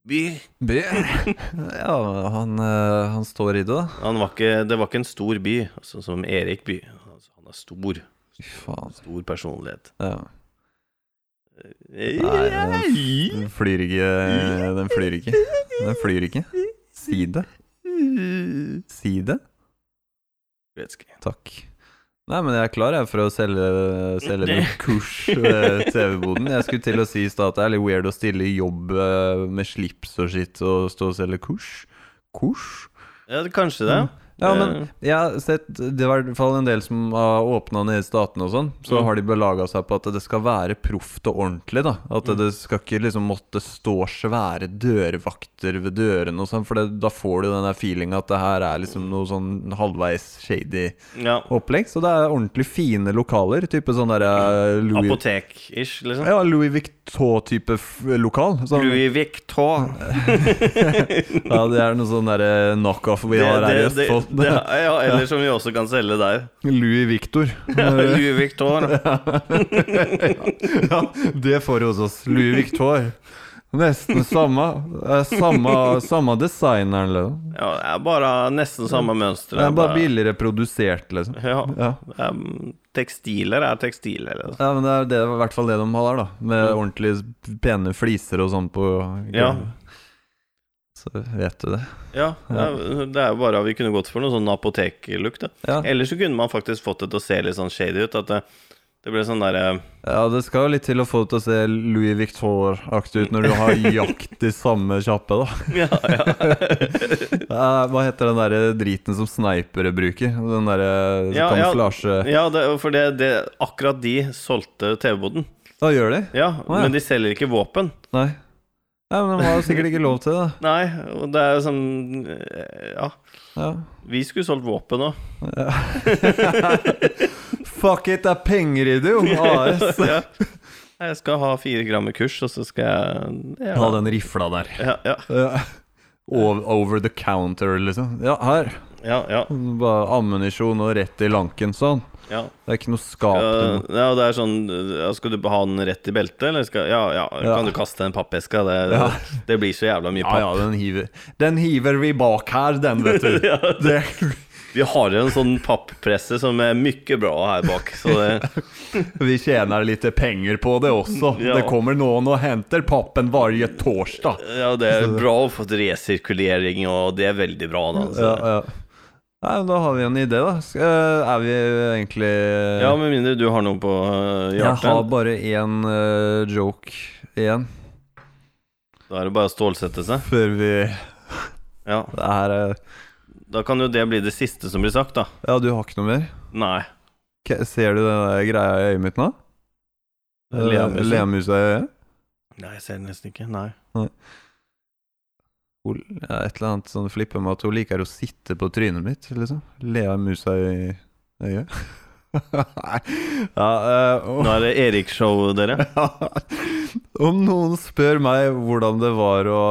S3: By?
S2: Be. (laughs) Ja, han, eh, han står i det, da.
S3: Han var ikke, det var ikke en stor by, altså, som Erik by. Altså, han er stor.
S2: Fy faen.
S3: Stor personlighet.
S2: Ja. Nei,
S3: Nei,
S2: den, den flyr ikke. eh, Den flyr ikke. Den flyr ikke. Si det. Si det.
S3: vet ikke.
S2: Takk. Nei, men jeg er klar jeg for å selge, selge min kurs eh, TV-boden. Jeg skulle til å si i stad at det er litt weird å stille i jobb eh, med slips og skitt og stå og selge kurs. Kurs?
S3: Ja, det- kanskje det.
S2: Ja, men jeg har sett Det var i hvert fall en del som har åpna ned i statene og sånn. Så
S3: Mm.
S2: har de belaga seg på at det skal være proft og ordentlig. da
S3: Mm.
S2: At det skal ikke liksom måtte stå svære dørvakter ved dørene og sånn, for det, da får du den der feelinga at det her er liksom noe sånn halvveis shady
S3: Eh, Ja.
S2: opplegg. Så det er ordentlig fine lokaler. Type sånn derre Louis,
S3: Apotek-ish, liksom.
S2: ja, Louis Vuitton-type f- lokal. Sånn,
S3: Louis Vuitton.
S2: ja, det er noe sånn derre knockoff vi har her i
S3: Det- det- det-
S2: Østfold.
S3: det- Ja, eller som vi også kan selge der.
S2: (laughs) Louis Victor.
S3: (laughs) Louis Vuitton.
S2: Ja, det får du hos oss. Louis Victor. Nesten samme. eh, Samme, samme designeren, liksom.
S3: Ja, det er bare nesten samme mønster.
S2: Det er bare billigere produsert, liksom.
S3: Ja.
S2: Ja.
S3: Um, tekstiler er tekstiler. Liksom.
S2: Ja, men det er det, i hvert fall det de har der, da. Med ordentlig pene fliser og sånn på
S3: Ja.
S2: Så vet du det.
S3: Ja, ja, det er jo bare at vi kunne gått for noe sånn apoteklukt. da.
S2: Ja,
S3: Eller så kunne man faktisk fått det til å se litt sånn shady ut. At det, det ble sånn derre (laughs)
S2: ja det skal jo litt til å få det til å se Louis Victor-aktig ut når du har jakt i samme kjappe, (laughs) da.
S3: ja, ja.
S2: Eh, Hva heter den derre driten som snipere bruker? Den derre
S3: Ja, ja.
S2: kamuflasje...
S3: ja det, for det, det, akkurat de solgte TV-boden.
S2: Da gjør de?
S3: Ja,
S2: Å, ja.
S3: men de selger ikke våpen.
S2: Nei. Nei, men de har jo sikkert ikke lov til det.
S3: Nei, og det er jo sånn eh, Ja.
S2: Ja.
S3: Vi skulle solgt våpen òg.
S2: Fuck it, det er penger i det, (laughs) jo! AS.
S3: Ja. Jeg skal ha fire gram i kurs, og så skal jeg ja.
S2: Ha den rifla der.
S3: Ja, ja,
S2: Ja. Over, over the counter, liksom. Ja, her.
S3: ja, ja,
S2: Bare ammunisjon og rett i lanken, sånn.
S3: ja.
S2: Det er ikke noe skap.
S3: Eh,
S2: du må-
S3: ja, det er sånn ja, Skal du ha den rett i beltet, eller skal Ja, ja,
S2: Ja.
S3: kan du kaste en pappeske? Det,
S2: Ja.
S3: det blir så jævla mye
S2: Ja,
S3: papp.
S2: ja, den hiver Den hiver vi bak her, den, vet
S3: (laughs)
S2: du. (laughs) Det,
S3: Vi har en sånn pappresse som er mye bra her bak, så det
S2: vi tjener litt penger på det også.
S3: Ja.
S2: Det kommer noen og henter pappen hver torsdag.
S3: Ja, det (laughs) er bra å få resirkulering, og det er veldig bra, da. altså. Så.
S2: Ja, ja. Nei, men da har vi en idé, da. Sk- eh, Er vi egentlig
S3: Ja, med mindre du har noe på eh,
S2: Jeg har
S3: hjertet.
S2: bare én eh, joke igjen
S3: Da er det bare å stålsette seg.
S2: før vi
S3: Ja.
S2: Det her er
S3: Da kan jo det bli det siste som blir sagt, da.
S2: Ja, du har ikke noe mer?
S3: Nei.
S2: K ser du den der greia i øyet mitt nå?
S3: Eh, Leamusen.
S2: Leamusa i øyet?
S3: Nei, jeg ser den nesten ikke. Nei.
S2: Hun- ja, Et eller annet sånn flipper med at hun liker å sitte på trynet mitt, liksom. Leamusa i øyet. (laughs) Nei ja, eh, og-
S3: Nå er det Erik-show, dere.
S2: (laughs) Om noen spør meg hvordan det var å,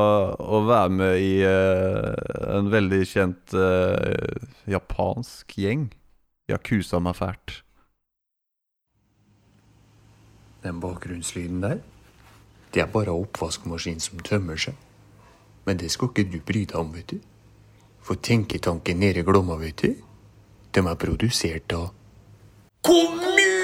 S2: å være med i eh, en veldig kjent eh, japansk gjeng Jeg kusa meg fælt.
S4: Den bakgrunnslyden der, det er bare oppvaskmaskinen som tømmer seg. Men det skal ikke du bry deg om, vet du. For tenketanken nede i Glomma, vet du, de er produsert av Kommune!